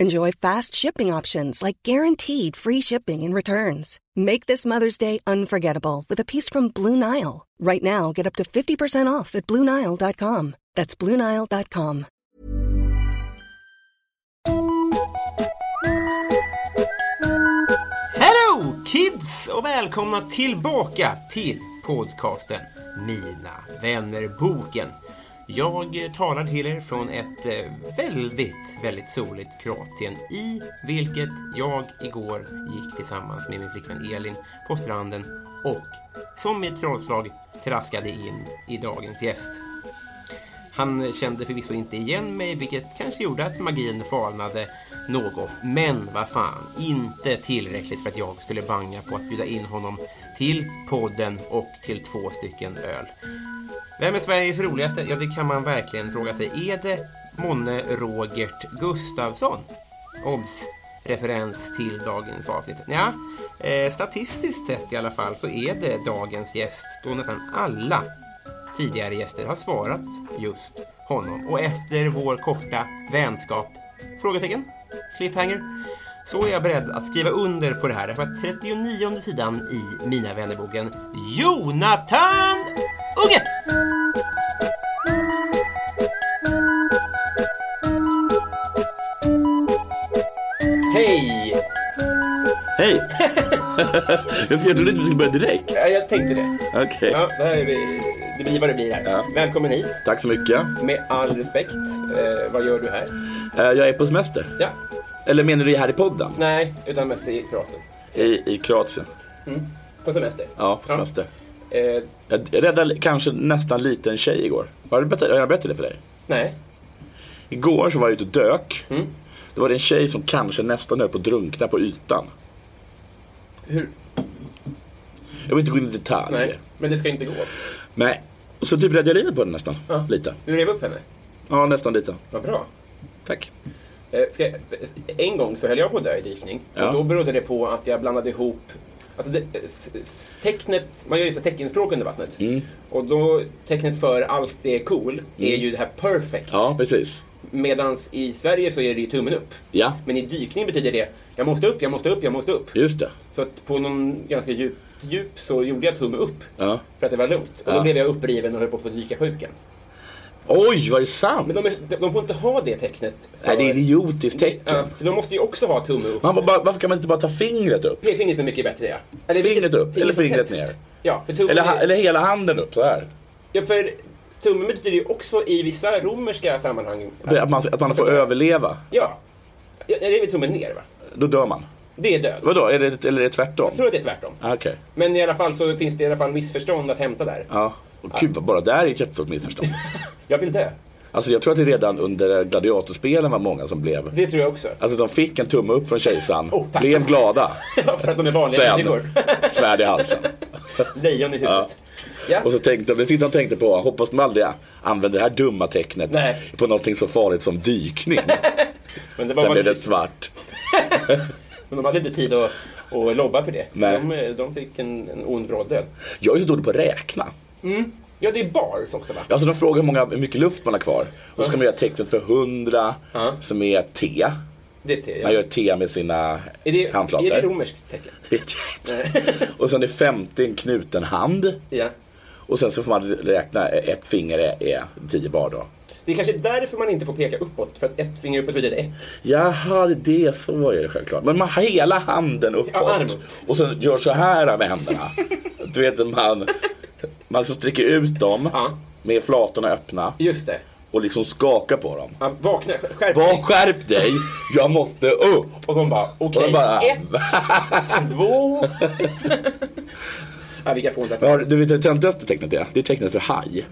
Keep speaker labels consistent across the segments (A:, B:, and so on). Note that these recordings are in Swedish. A: Enjoy fast shipping options like guaranteed free shipping and returns. Make this Mother's Day unforgettable with a piece from Blue Nile. Right now, get up to 50% off at BlueNile.com. That's BlueNile.com.
B: Hello kids och välkomna tillbaka till podcasten Mina vännerboken. Jag talar till er från ett eh, väldigt, väldigt soligt Kroatien i vilket jag igår gick tillsammans med min flickvän Elin på stranden och som med ett trollslag traskade in i dagens gäst. Han kände förvisso inte igen mig vilket kanske gjorde att magin falnade något. Men vad fan, inte tillräckligt för att jag skulle banga på att bjuda in honom till podden och till två stycken öl. Vem är Sveriges roligaste? Ja, det kan man verkligen fråga sig. Är det månne Robert Gustafsson? Obs! Referens till dagens avsnitt. Ja, eh, statistiskt sett i alla fall så är det dagens gäst då nästan alla tidigare gäster har svarat just honom. Och efter vår korta vänskap, frågetecken, cliffhanger, så är jag beredd att skriva under på det här. Därför att 39 sidan i Mina vännerboken, Jonathan Unge! Hej!
C: Hej! jag trodde inte vi skulle börja direkt.
B: Ja, jag tänkte det.
C: Okej.
B: Ja, det, här är, det blir vad det blir här.
C: Ja.
B: Välkommen hit.
C: Tack så mycket.
B: Med all respekt, eh, vad gör du här?
C: Eh, Jag är på semester.
B: Ja,
C: Eller menar du här i podden?
B: nej, utan mest i pratet.
C: I, i Kroatien.
B: På semester?
C: Ja, på semester.
B: Eh,
C: Jag räddade li- kanske nästan liten tjej igår. Har jag berättat- har jag berättat det för dig?
B: nej.
C: Igår så var jag ute och dök.
B: Mm.
C: Då var det en tjej som kanske nästan höll på att drunkna på ytan.
B: Hur?
C: Jag vill inte gå in i detalj.
B: Nej, men det ska inte gå.
C: Nej. Så typ räddade jag livet på den nästan.
B: Ja.
C: Lite.
B: Du rev upp henne?
C: Ja, nästan lite.
B: Vad bra.
C: Tack.
B: Eh, ska, en gång så höll jag på att dö i dykning.
C: Ja.
B: Och då berodde det på att jag blandade ihop Alltså det, s- s- tecknet, man gör ju så teckenspråk under vattnet.
C: Mm.
B: Och då, tecknet för allt det är cool är ju det här perfect.
C: Ja, precis.
B: Medans i Sverige så är det ju tummen upp.
C: Ja.
B: Men i dykning betyder det, jag måste upp, jag måste upp, jag måste upp.
C: Just det.
B: Så att på någon ganska djup, djup så gjorde jag tumme upp.
C: Ja.
B: För att det var lugnt. Och då
C: Ja.
B: blev jag uppriven och höll på att få dyka sjuken.
C: Oj, var det sant?
B: Men de, är, de- de får inte ha det tecknet. för-
C: Nej, det är ett idiotiskt tecken.
B: Ja, för de måste ju också ha tumme upp.
C: Man bara, bara, varför kan man inte bara ta fingret upp?
B: Pekfingret är mycket bättre ja. Eller
C: Fingret
B: vilket-
C: upp, eller
B: som
C: fingret
B: helst.
C: ner.
B: Ja, för tummen
C: Eller, ha,
B: är-
C: eller hela handen upp så här.
B: ja, för tummen betyder ju också i vissa romerska sammanhang.
C: Det- Att man, att man får överleva.
B: Ja. ja. Det är väl tummen ner va?
C: Då dör man.
B: Det är död.
C: Vadå, är det, eller är det tvärtom?
B: Jag tror att det är tvärtom.
C: Ah, Okej.
B: Men i alla fall så finns det i alla fall missförstånd att hämta där.
C: Ja. Och gud, vad bara där är ett jättestort missförstånd.
B: Jag vill dö.
C: Alltså jag tror att det redan under gladiatorspelen var många som blev...
B: Det tror jag också.
C: Alltså de fick en tumme upp från kejsaren,
B: Oh, tack.
C: blev glada.
B: för att de är vanliga
C: Sen,
B: människor.
C: svärd i halsen.
B: Lejon i huvudet. Ja.
C: Och så tänkte de, de tänkte på, hoppas de aldrig använder det här dumma tecknet
B: Nej.
C: på någonting så farligt som dykning.
B: men, det var
C: Sen
B: bara,
C: blev det svart.
B: men de hade inte tid att, att lobba för det.
C: Nej.
B: De, eh, de fick en, en ond bråd död.
C: Jag är så dålig på att räkna.
B: Ja, det är bars också va?
C: Alltså de frågar hur, många, hur mycket luft man har kvar. Och så ska man göra tecknet för 100
B: Ja.
C: som är T.
B: Det är te. Ja.
C: Man gör T med sina
B: Är det,
C: handflator.
B: är det romerskt tecken?
C: Vet jag inte. Och sen är 50 en knuten hand.
B: Ja.
C: Och sen så får man räkna eh, ett finger är, är 10 bar då.
B: Det är kanske därför man inte får peka uppåt, för att ett finger uppåt betyder ett.
C: Jaha, det är så är det självklart. Men man har hela handen uppåt.
B: Ja, arm.
C: och sen gör så här med händerna. du vet man, man så sträcker ut dem
B: Ja.
C: med flatorna öppna.
B: Just det.
C: och liksom skaka på dem.
B: Ja, vakna, skärp
C: Var skärp dig, jag måste upp!
B: Och de bara, okej,
C: Och de bara,
B: ett, två... ja, vilka fån
C: Ja, du vet det töntigaste tecknet är? Det är tecknet för haj.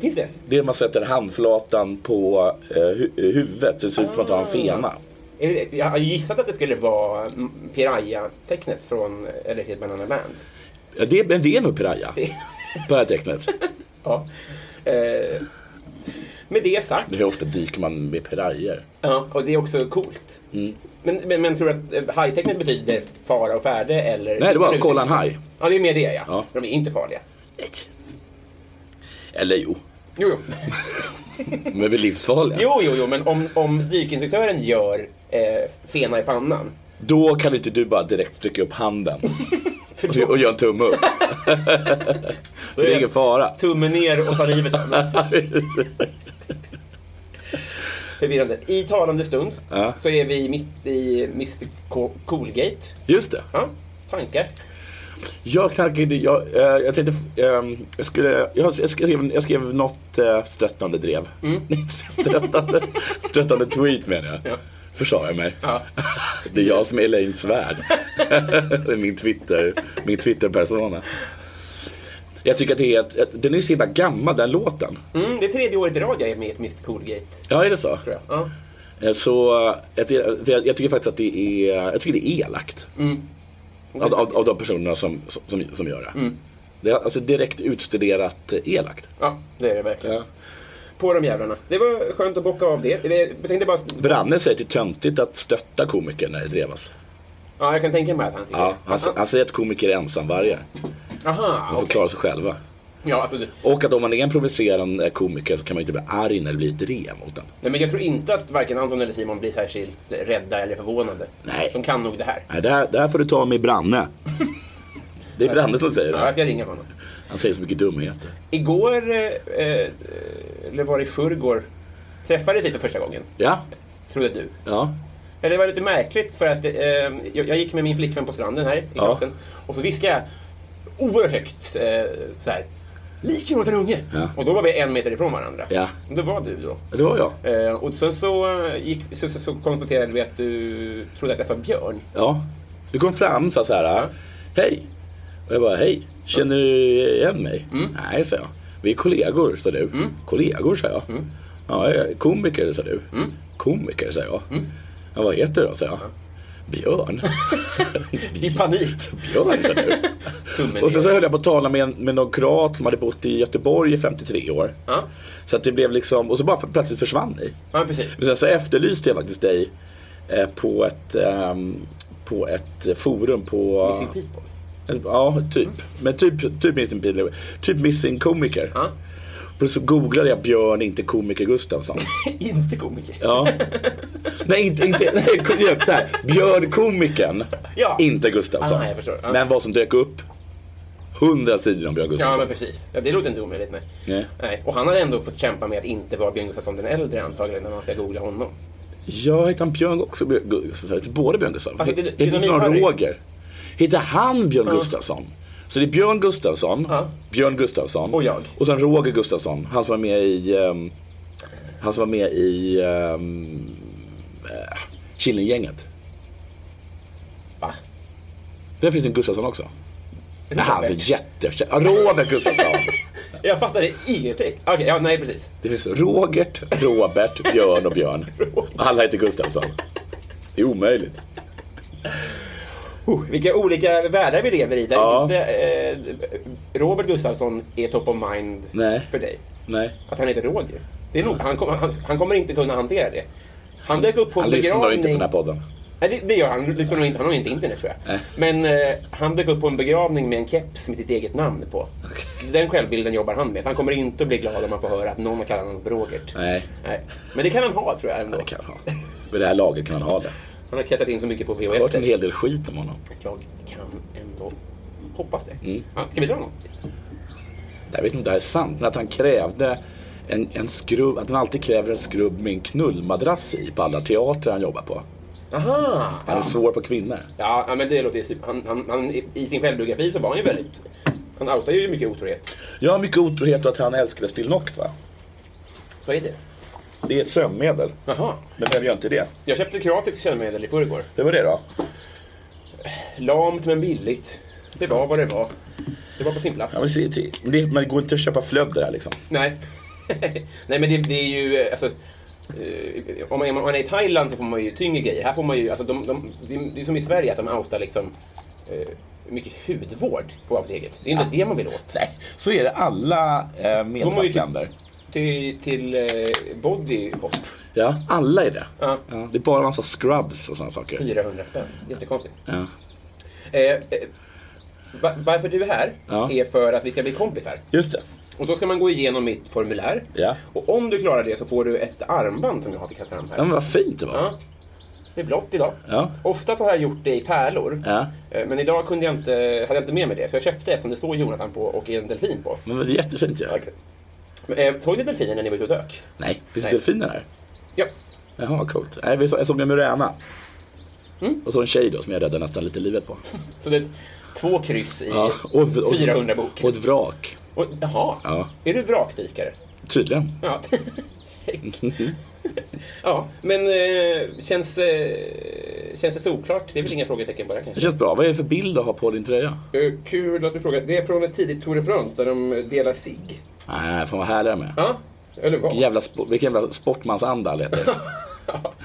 B: Finns det?
C: Det man sätter handflatan på eh, hu- huvudet, så det ser ut som att man har en fena.
B: Är det- Jag har gissat att det skulle vara mm, Piraya-tecknet från eller Hedman Anna Band.
C: Ja, det, men det är nog piraya. På det här tecknet.
B: Ja. Eh, med det sagt.
C: Hur ofta dyker man med pirayer?
B: Ja, och det är också coolt.
C: Mm.
B: Men, men, men tror du att eh, hajtecknet betyder fara och färde eller?
C: Nej, det var kolla en haj.
B: Ja, det är mer det ja.
C: Ja.
B: De är inte farliga.
C: Nej. Eller jo,
B: Jo, jo,
C: de är väl livsfarliga.
B: jo, jo, jo men om, om dykinstruktören gör eh, fena i pannan.
C: Då kan inte du bara direkt sträcka upp handen
B: För
C: Du-
B: då,
C: och göra en tumme upp. För det är ingen fara.
B: tummen ner och ta livet av mig. Förvirrande. I talande stund
C: Ja.
B: så är vi mitt i Mr Co- Coolgate.
C: Just det.
B: Ja, tankar.
C: Jag knarkar inte, jag, eh, jag tänkte, ehm, jag skulle, jag, jag skrev, jag skrev något eh, stöttande drev. Nej, stöttande, stöttande tweet menar jag.
B: Mm. Ja.
C: Försade jag mig.
B: Ja.
C: Det är jag som är Elaine Svärd. Det är min Twitter, min Twitter-persona. Jag tycker att det är, ett- ett- den är så himla gammal den låten.
B: Mm, det är tredje året i rad jag är med i ett Mr Coolgate.
C: Ja, är det så?
B: Tror jag. Ja.
C: Eh, Så eh, jag, ty- jag, jag tycker faktiskt att det är, jag tycker det är elakt.
B: Mm.
C: Av, av, av de personerna som, som, som gör det.
B: Mm.
C: Det är alltså direkt utstuderat eh, elakt.
B: ja, det är det verkligen. På de jävlarna. Det var skönt att bocka av det. Jag tänkte bara...
C: Branne säger att det är töntigt att stötta komiker när det drevas.
B: Ja, jag kan tänka mig att han tycker
C: Ja,
B: det.
C: han, s- han säger att komiker är ensamvargar.
B: Aha,
C: De får
B: okej.
C: klara sig själva.
B: Ja, alltså, du-
C: Och att om man är en provocerande komiker så kan man inte bli arg när det blir drev mot den.
B: nej, men jag tror inte att varken Anton eller Simon blir särskilt rädda eller förvånade.
C: Nej.
B: De kan nog det här.
C: Nej, det här, det här får du ta med Branne. Det är Branne som säger
B: Ja, jag
C: det.
B: ska ringa honom.
C: Han säger så mycket dumheter.
B: Igår, eh, eh, eller var det i förrgår, träffades vi för första gången.
C: Ja,
B: Trodde du.
C: ja.
B: Ja, Det var lite märkligt för att eh, jag, jag gick med min flickvän på stranden här i
C: Ja.
B: klassen och så viskade jag oerhört högt eh, så här. Lik Simon åt en unge!
C: Ja.
B: Och då var vi en meter ifrån varandra.
C: Ja.
B: Och det var du då.
C: Det var jag.
B: Eh, och sen så, eh, gick, så, så, så konstaterade vi att du trodde att jag sa björn.
C: Ja. Du kom fram och sa så här. Hej. Och jag bara, hej. Känner du igen mig? Nej, sa jag. Vi är kollegor, sa du. Kollegor, sa jag. Ja, jag är komiker, sa du. Komiker, sa jag. Ja, vad heter du då, sa jag. Björn.
B: I panik.
C: Björn, sa du.
B: Tummen
C: Och sen så
B: ner.
C: höll jag på att tala med, en- med någon kroat som hade bott i Göteborg i 53 år.
B: Ja.
C: Så att det blev liksom, och så bara plötsligt försvann ni.
B: ja, precis.
C: Men sen så efterlyste jag faktiskt dig eh, på ett, ehm, på ett forum på...
B: Missing people.
C: Ja, typ. Men typ, typ missing people. Typ missing komiker.
B: Ja.
C: Och så googlade jag Björn, inte komiker Gustafsson.
B: Inte komiker.
C: Ja. nej, inte, inte nej, kom- ja, så här. Björn komikern,
B: Ja.
C: inte Gustafsson.
B: Ah, jag förstår. Ja.
C: Men vad som dök upp, hundra sidor om Björn
B: Ja,
C: Gustafsson.
B: men precis. Ja, det låter inte omöjligt. Nej.
C: Nej.
B: Nej. Och han hade ändå fått kämpa med att inte vara Björn Gustafsson den äldre antagligen när man ska googla honom.
C: Jag heter han Björn också, Björn Gustafsson. Heter Både Björn Gustafsson.
B: Vad heter-
C: Heter
B: heter
C: inte
B: min
C: någon
B: Harry?
C: Roger? Heter han Björn Gustafsson? Så det är Björn Gustafsson,
B: Ja.
C: Björn Gustafsson
B: Och jag.
C: och sen Roger Gustafsson. Han som var med i, ehm, han som var med i um, Killinggänget.
B: Va?
C: Där finns det en Gustafsson också. Nej, han är jättekänd. Ja, Robert Gustafsson.
B: Jag fattade ingenting. Okej, ja, nej precis.
C: Det finns Robert, Robert, Björn och Björn. Alla heter Gustafsson. Det är omöjligt.
B: Oh, vilka olika världar vi lever i. Där
C: Ja.
B: inte, eh, Robert Gustafsson är top of mind
C: Nej.
B: för dig.
C: Nej.
B: Att han heter Roger. Det är nog, han, kom, han, han kommer inte kunna hantera det. Han dök upp på en
C: Han lyssnar nog
B: begravning.
C: inte på den här podden.
B: Nej, det, det gör han. Han lyssnar nog inte, han har nog inte internet tror jag. Men eh, han dök upp på en begravning med en keps med sitt eget namn på. Den självbilden jobbar han med. Så han kommer inte att bli glad om han får höra att någon har kallat honom för Robert.
C: Nej.
B: Nej. Men det kan han ha tror jag ändå.
C: Det kan han ha. Vid det här laget kan han ha det.
B: Han har cashat in så mycket på
C: Jag har
B: VHS.
C: hört en hel del skit om honom.
B: Jag kan ändå hoppas det.
C: Mm.
B: Ja, ska vi dra något?
C: Jag vet inte om det här är sant, men att han krävde en, en skrubb, att han alltid kräver en skrubb med en knullmadrass i på alla teatrar han jobbar på.
B: Aha!
C: Han är svår på kvinnor.
B: Ja, ja, men det låter ju super. Han, han, han, I sin självbiografi så var han ju väldigt... Han outar ju mycket otrohet.
C: Jag har mycket otrohet och att han älskade Still Noct va?
B: Vad är det?
C: Det är ett sömnmedel.
B: Jaha.
C: Men vem gör inte det?
B: Jag köpte kroatiskt kännemedel i förrgår.
C: Det var det då.
B: Lamt men billigt. Det var vad det var. Det var på sin plats.
C: Ja, men se- se- men det, men det går inte att köpa flödder här liksom.
B: Nej. Nej men det, det är ju, eh, alltså, eh, om, man, om man är i Thailand så får man ju tyngre grejer. Här får man ju, alltså, de, de, det är- det är som i Sverige att de outar liksom, eh, mycket hudvård på apoteket. Det är inte det man vill åt.
C: Nej, så är det alla eh, medelhavsländer.
B: typ Till, till eh, body hop,
C: typ- Ja, alla är det.
B: Ja.
C: det är bara en massa scrubs och sådana saker.
B: 400 spänn. Jättekonstigt.
C: Ja.
B: Eh, eh, va- varför du är här
C: Ja.
B: är för att vi ska bli kompisar.
C: Just det.
B: Och då ska man gå igenom mitt formulär.
C: Ja.
B: Och om du klarar det så får du ett armband som jag har till Katarina här.
C: Ja, men vad fint det var.
B: Ja. Det är blått idag.
C: Ja.
B: Ofta så har jag gjort det i pärlor.
C: Ja.
B: Eh, Men idag kunde jag inte, hade jag inte med mig det. Så jag köpte ett som det står Jonathan på och en delfin på.
C: Men det är jättefint ju.
B: Men, eh, Såg ni delfinen när ni var ute och dök?
C: Nej, finns
B: Nej.
C: det delfiner här?
B: Ja.
C: Jaha, vad coolt. Nej, vi så, jag såg en muräna.
B: Mm.
C: Och så en tjej då som jag räddade nästan lite livet på.
B: Så det är två kryss i
C: Ja, och, och,
B: 400 bok.
C: Och ett vrak.
B: Och, jaha.
C: Ja.
B: Är du vrakdykare?
C: Tydligen.
B: Ja. Check. ja, men eh, känns, eh, känns det solklart? Det är väl inga frågetecken bara kanske?
C: Det känns bra. Vad är det för bild att ha på din tröja?
B: Eh, Kul att du frågar. Det är från ett tidigt Tour de France där de eh, delar sig.
C: Nej, fan vad härlig de är.
B: Ja, eller vad?
C: Vilken Jävla, spo- vilken jävla sportmansanda alla heter.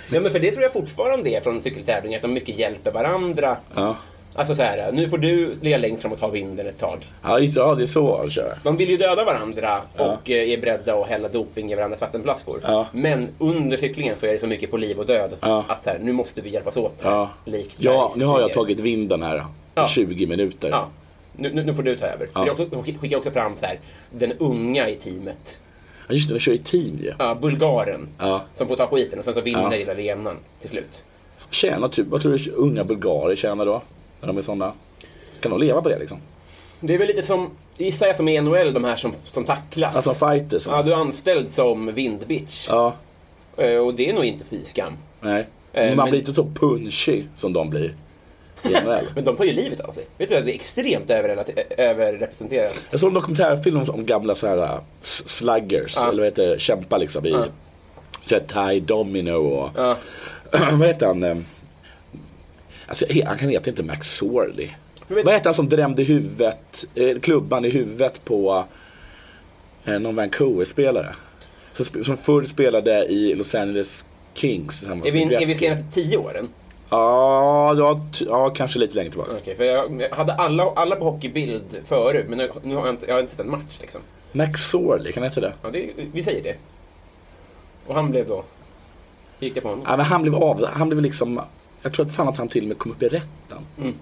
B: Ja, men för det tror jag fortfarande är från cykeltävlingar, att de mycket hjälper varandra.
C: Ja.
B: Alltså så här, nu får du ligga längst fram och ta vinden ett tag.
C: Ja, just det. Ja, det är så de kör.
B: De vill ju döda varandra och eh, är beredda att hälla doping i varandras vattenflaskor.
C: Ja.
B: Men under cyklingen så är det så mycket på liv och död
C: Ja.
B: att så här, nu måste vi hjälpas åt. här,
C: Ja,
B: Likt
C: ja nu har jag
B: bergskriger.
C: tagit vinden här.
B: Ja.
C: 20 minuter.
B: Ja. Nu, nu, nu får du ta över. Ja.
C: Ja.
B: Jag också, skickar också fram så här, den unga i teamet.
C: Ja, just det, de kör i team ju.
B: Ja, bulgaren
C: Ja.
B: som får ta skiten och sen så vinner
C: Ja.
B: lilla Lenan till slut.
C: Tjänar typ, vad tror du unga bulgarer tjänar då? När de är sådana. Kan de leva på det liksom?
B: Det är väl lite som, gissar jag, som i NHL, de här som, som tacklas.
C: Alltså fighters?
B: Ja, du är anställd som vindbitch.
C: Ja,
B: Eh, Och det är nog inte fy skam.
C: nej.
B: Eh,
C: Man
B: men-
C: blir inte så punchy som de blir i NHL.
B: Men de tar ju livet av sig. Vet du att det är extremt överrelate- överrepresenterat.
C: Jag såg en dokumentärfilm om- om gamla så här äh, s- sluggers, eller vad heter det, kämpar liksom i så här, Ty Domino och
B: Ja.
C: vad heter han? eh, Alltså, he- han kan heta inte Max Sorley.
B: Men vet-
C: Vad heter han som drämde huvudet, eh, klubban i huvudet på eh, någon Vancouver-spelare? Som, sp- som förr spelade i Los Angeles Kings.
B: Är vi, är vi senaste tio åren?
C: Ja, ja, t- ja, kanske lite längre tillbaka.
B: Okej, för jag, jag hade alla, alla på hockeybild förut, men nu, nu har jag, inte, jag har inte sett en match liksom.
C: Max Sorley, kan han heta det?
B: Ja, det, vi säger det. Och han blev då... Hur gick det för honom?
C: Ja, men han blev av, han blev liksom, jag tror att fan att han till och med kom upp i rätten.
B: Mm.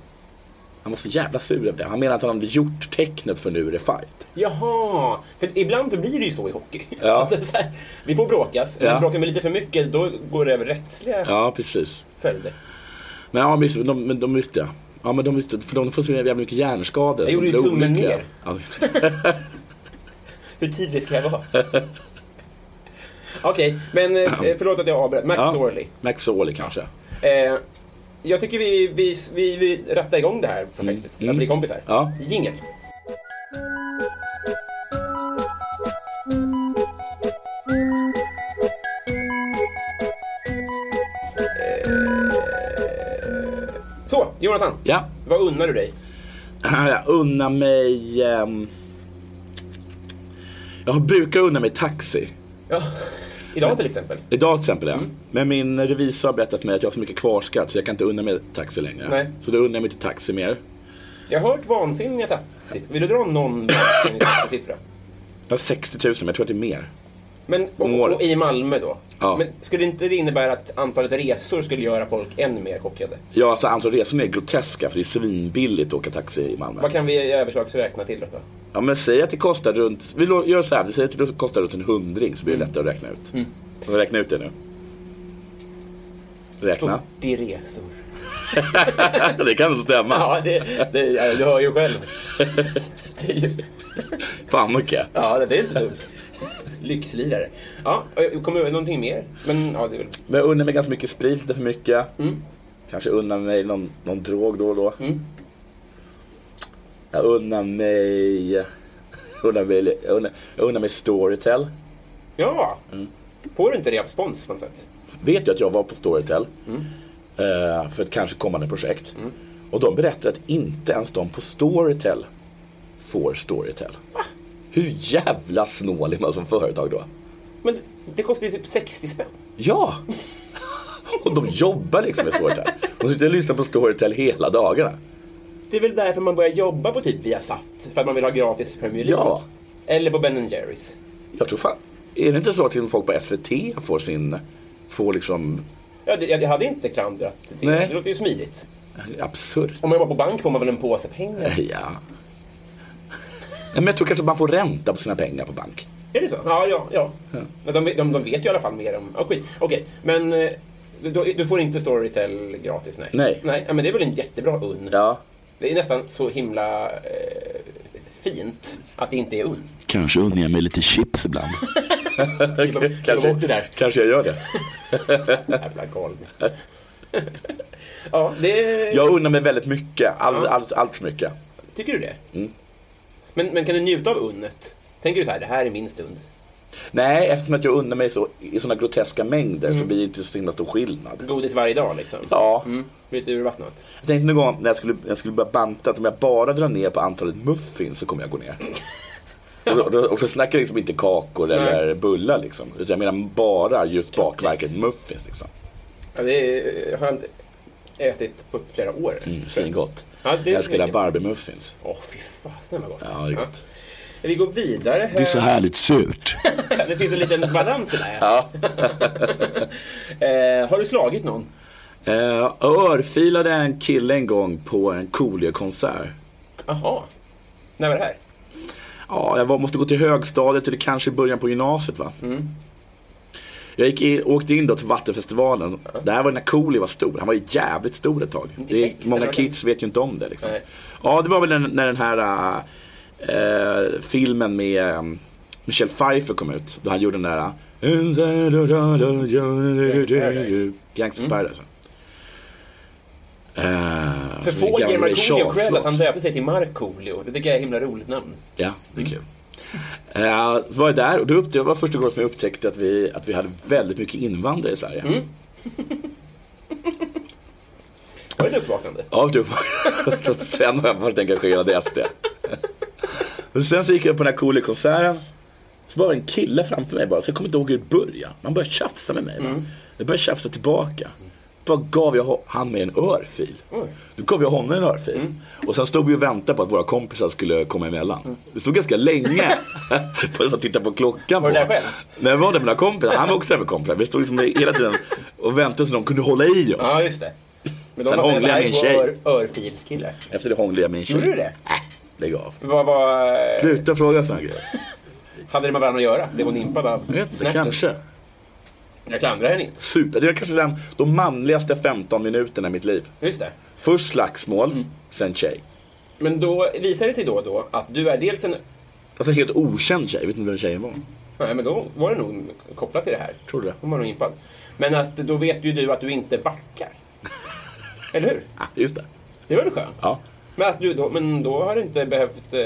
C: Han var så jävla sur över det. Han menade att han hade gjort tecknet för nu är det fight.
B: Jaha! För ibland så blir det ju så i hockey.
C: Ja.
B: Att det är så här, vi får bråkas,
C: Ja.
B: men bråkar vi lite för mycket då går det över rättsliga
C: Ja, precis.
B: följder.
C: Men ja, men just, de, men de just det. Ja, men de, just det, för de får så jävla mycket hjärnskador. Jag
B: gjorde ju tummen ner.
C: Ja,
B: Hur tydlig ska jag vara? Okej, men eh, förlåt att jag avbröt. Max
C: ja.
B: Sorley.
C: Max Sorley kanske.
B: Eh, jag tycker vi, vi, vi, vi rattar igång det här projektet,
C: Mm.
B: att bli kompisar.
C: Ja.
B: Jingel. Eh, Så, Jonathan.
C: Ja.
B: Vad unnar du dig?
C: Jag unnar mig... ehm, jag brukar unna mig taxi.
B: Ja. Idag till exempel.
C: Idag till exempel,
B: Mm.
C: ja. Men min revisor har berättat för mig att jag har så mycket kvarskatt så jag kan inte unna mig taxi längre.
B: Nej.
C: Så då unnar jag mig inte taxi mer.
B: Jag har hört vansinniga taxisiffror. Vill du dra någon vansinnig taxisiffra?
C: Jag har 60 000, men jag tror att det är mer.
B: Men,
C: Om året.
B: och, och i Malmö då?
C: Ja.
B: Men skulle inte det innebära att antalet resor skulle göra folk ännu mer chockade?
C: Ja, alltså antalet resorna är groteska för det är svinbilligt att åka taxi i Malmö.
B: Vad kan vi i överslagsräkna till då?
C: Ja, men säg att det kostar runt, vi lo- gör så här, vi säger att det kostar runt en hundring så blir det lättare att räkna ut. Mm. vi räkna ut det nu? Räkna.
B: 40 resor.
C: det kan inte stämma.
B: Ja, det, det, ja, du hör ju själv. Det är ju,
C: Fan mycket.
B: ja, det är inte dumt. Lyxlirare. Ja, och kommer du ihåg någonting mer? Men ja, det är väl...
C: Men jag undrar mig ganska mycket sprit, lite för mycket. Kanske undrar mig någon, någon drog då och då. Jag undrar mig... Undrar mig, undrar, jag undrar mig Storytel.
B: Ja!
C: Mm.
B: Får du inte respons på något sätt?
C: vet ju att jag var på Storytel eh, för ett kanske kommande projekt. Och de berättar att inte ens de på Storytel får Storytel. Hur jävla snål är man som företag då?
B: Men det kostar ju typ 60 spänn.
C: Ja! Och de jobbar liksom med Storytel. De sitter och lyssnar på Storytel hela dagarna.
B: Det är väl därför man börjar jobba på typ Viasat. För att man vill ha gratis Premier League.
C: Ja.
B: Eller på Ben Jerrys.
C: Jag tror fan, är det inte så att till och med folk på SVT får sin, får liksom,
B: Ja, det, jag hade inte klandrat det.
C: Nej.
B: Det låter ju smidigt.
C: absurt.
B: Om man jobbar på bank får man väl en påse pengar?
C: Ja. Nej, Men jag tror kanske att man får ränta på sina pengar på bank.
B: Är det så? Ja, ja, ja. Men De, de, de vet ju i alla fall mer om... Oh, skit. Okej, men eh, du, du får inte Storytel gratis? Nej.
C: Nej.
B: ja, men det är väl en jättebra unn?
C: Ja.
B: Det är nästan så himla eh, fint att det inte är unn.
C: Kanske unnar jag mig lite chips ibland.
B: Kliva kliva bort det där.
C: kanske jag gör det.
B: Jävla golv. ja, det...
C: Jag unnar mig väldigt mycket. All, allt, allt för mycket.
B: Tycker du det?
C: Mm.
B: Men, men kan du njuta av unnet? Tänker du så här, det här är min stund?
C: Nej, eftersom att jag unnar mig så, i sådana groteska mängder
B: Mm.
C: så blir det inte så himla stor skillnad.
B: Godis varje dag liksom?
C: Ja.
B: Mm. Lite urvattnat?
C: Jag tänkte någon gång när jag skulle, jag skulle börja banta att om jag bara drar ner på antalet muffins så kommer jag gå ner. Och, och, och så snackar jag liksom inte kakor eller bullar liksom. Utan jag menar bara just bakverket muffins liksom.
B: Mm, Ja, det är, har jag inte ätit på flera år.
C: Mm, Svingott.
B: Ja, det är
C: jag älskar
B: mycket.
C: rabarbermuffins.
B: Åh, fy fasen vad gott.
C: Ja, det är gott.
B: Ja. Vi går vidare.
D: Det är så härligt surt.
B: Det finns en liten balans i det här. eh, har du slagit någon?
C: Eh, örfilade en kille en gång på en Coolio-konsert.
B: Jaha. När var det här?
C: Alltså, Ja, jag var, måste gå till högstadiet eller kanske i början på gymnasiet va?
B: Mm.
C: Jag gick in, åkte in då till Vattenfestivalen. Det här var när Coolio var stor. Han var ju jävligt stor ett tag. Det är,
B: 96
C: många
B: eller
C: kids vet ju inte om det liksom.
B: Nej.
C: Ja, det var väl när, när den här eh, filmen med eh, Michelle Pfeiffer kom ut. Då han gjorde den där...
B: Paradise. Mm.
C: Gangsters Paradise. Eh,
B: För
C: så
B: få
C: gammal
B: ger Markoolio
C: Charles
B: cred att
C: låt.
B: han döpte sig till Markoolio. Det tycker jag är ett himla roligt namn.
C: Ja, det är kul. Eh, så var jag där och då upptäckte, det var första gången som jag upptäckte att vi, att vi hade väldigt mycket invandrare i Sverige.
B: Var det ett uppvaknande?
C: Ja, du. Så Sen har jag varit engagerad i SD. Men sen så gick jag på den här coola konserten. Så var det en kille framför mig bara, så jag kommer inte ihåg hur det började. Man började tjafsa med mig. Mm. Jag började tjafsa tillbaka. Bara gav jag ho- han mig en örfil. Då gav jag honom en örfil.
B: Mm.
C: Och sen stod vi och väntade på att våra kompisar skulle komma emellan.
B: Mm.
C: Vi stod ganska länge och så tittade på klockan.
B: Var du
C: på.
B: där själv?
C: Nej, jag var där med några kompisar. Han var också där med kompisar. Vi stod liksom hela tiden och väntade så de kunde hålla i oss.
B: Ja, just det. Men
C: Sen
B: fattar
C: hånglade
B: att
C: jag
B: det här
C: med en
B: är två ör- Örfilskillar.
C: Efter det hånglade jag med en tjej.
B: Gjorde du det?
C: Äh, lägg av.
B: Vad var...
C: Sluta fråga sådana grejer.
B: Hade det med varandra att göra? Blev hon impad av
C: Jag vet inte,
B: snärten?
C: kanske.
B: Jag klandrar henne inte.
C: Super. Det är kanske den, de manligaste 15 minuterna i mitt liv.
B: Just det.
C: Först slagsmål,
B: Mm.
C: sen tjej.
B: Men då visar det sig då och då att du är dels en...
C: Alltså en helt okänd tjej, jag vet inte vem tjejen var.
B: Nej, men då var det nog kopplat till det här.
C: Tror du det?
B: Hon var nog impad. Men att då vet ju du att du inte backar. Eller hur?
C: Ah, just det.
B: Det var väl skönt?
C: Ja.
B: Men, att du då, men då har det inte behövt eh,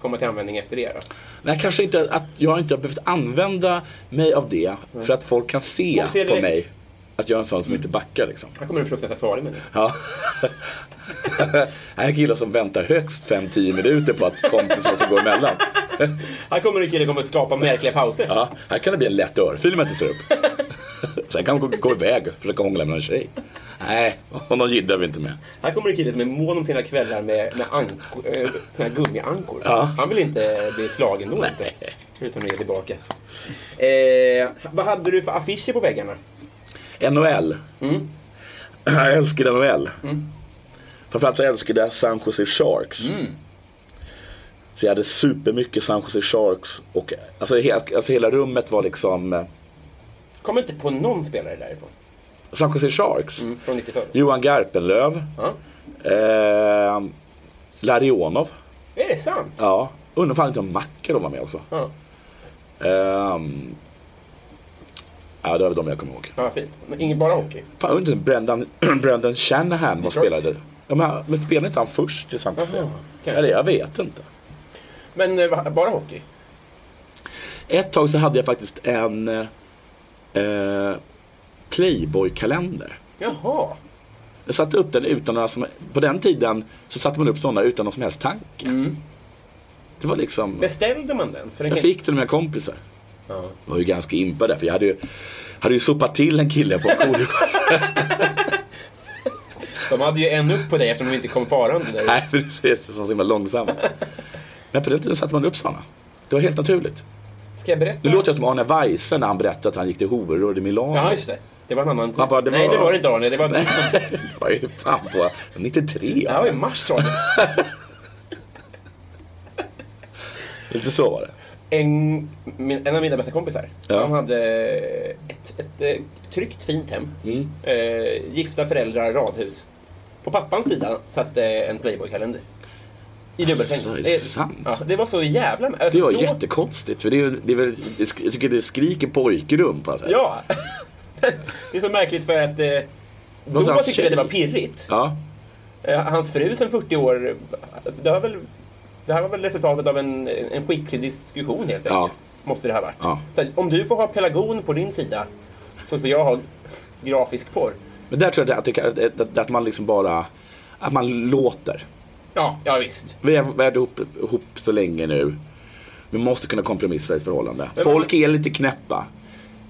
B: komma till användning efter det då?
C: Nej, kanske inte att jag inte har behövt använda mig av det för att folk kan se
B: Mm. Folk ser
C: på
B: direkt.
C: mig att jag är en sån som inte backar liksom.
B: Här kommer en fruktansvärt farlig människa.
C: Ja. Jag är en kille som väntar högst 5-10 minuter på att kompisarna ska gå emellan.
B: Här kommer en kille som kommer skapa märkliga pauser.
C: Ja, här kan det bli en lätt örfil om jag inte ser upp. Sen kan hon gå, gå iväg och försöka hångla med någon tjej. Nej, honom gillar vi inte med.
B: Här kommer en kille som är mån om sina kvällar med, med anko, eh, såna här gummiankor.
C: Ja.
B: Han vill inte bli slagen då inte. Utan att ge tillbaka. Eh, vad hade du för affischer på väggarna?
C: NHL. Jag älskade NHL. Framförallt så älskade jag San Jose Sharks. Så jag hade supermycket San Jose Sharks. Och, alltså, he, alltså hela rummet var liksom eh,
B: Kommer inte på någon spelare därifrån.
C: San Jose Sharks.
B: Från 90-talet.
C: Johan Garpenlöv.
B: Mm. Ja.
C: Eh, Larionov.
B: Är det sant?
C: Ja. Undrar fan inte om Makarov var med också.
B: Ja.
C: Ehm, ja, det var de jag kommer ihåg.
B: Ja, vad fint. Men Ingen bara hockey.
C: Fan, undrar Brendan, Brendan Shanahan vad
B: Detroit.
C: spelade. Ja, men, han- men spelade inte han först i San Jose?
B: Jaha, kanske.
C: Eller jag vet inte.
B: Men eh, va- bara hockey?
C: Ett tag så hade jag faktiskt en eh, Playboy-kalender.
B: Jaha.
C: Jag satte upp den utan några som, På den tiden så satte man upp sådana utan någon som helst tanke. Det var liksom...
B: Beställde man den? För den
C: Jag
B: kan-
C: fick den av mina kompisar. Jag var ju ganska impad där, för jag hade ju, hade ju sopat till en kille på Kodjo.
B: De hade ju en upp på dig eftersom de inte kom farande där.
C: Nej, precis. Som var så himla långsam. Men på den tiden satte man upp sådana. Det var helt naturligt.
B: Ska jag berätta?
C: Nu låter jag som Arne Weise när han berättade att han gick till horor i Milano.
B: Ja, just det. Det var en annan tid.
C: Man bara, det
B: Nej,
C: var-
B: det var det inte Arne. Det var... det
C: det var ju fan på 93.
B: här var i mars Arne.
C: Lite så var det.
B: En, min, en av mina bästa kompisar.
C: Ja.
B: Han hade ett, ett, eh, tryggt, fint hem.
C: Mm.
B: Eh, gifta föräldrar, radhus. På pappans sida satt eh, en Playboy-kalender. I dubbelsäng.
C: Alltså, är det sant?
B: ja, det var så jävla...
C: Det
B: alltså,
C: var
B: då-
C: jättekonstigt. För det är, ju- det är väl, det sk- jag tycker det skriker pojkrum på något sätt.
B: Ja! det är så märkligt för att eh, då
C: Någonstans
B: tyckte jag det var
C: tjej.
B: pirrigt.
C: Ja.
B: Eh, Hans fru sen 40 år, det, var väl, det här var väl resultatet av en, en skicklig diskussion helt enkelt.
C: Ja.
B: Måste det här varit.
C: Ja.
B: Så att om du får ha pelargon på din sida så får jag ha grafisk porr.
C: Men där tror jag att, det, kan- att, att, att man liksom bara... Att man låter.
B: Ja, ja visst.
C: Vi har varit ihop, ihop så länge nu. Vi måste kunna kompromissa i ett förhållande.
B: Men-
C: Folk är lite knäppa.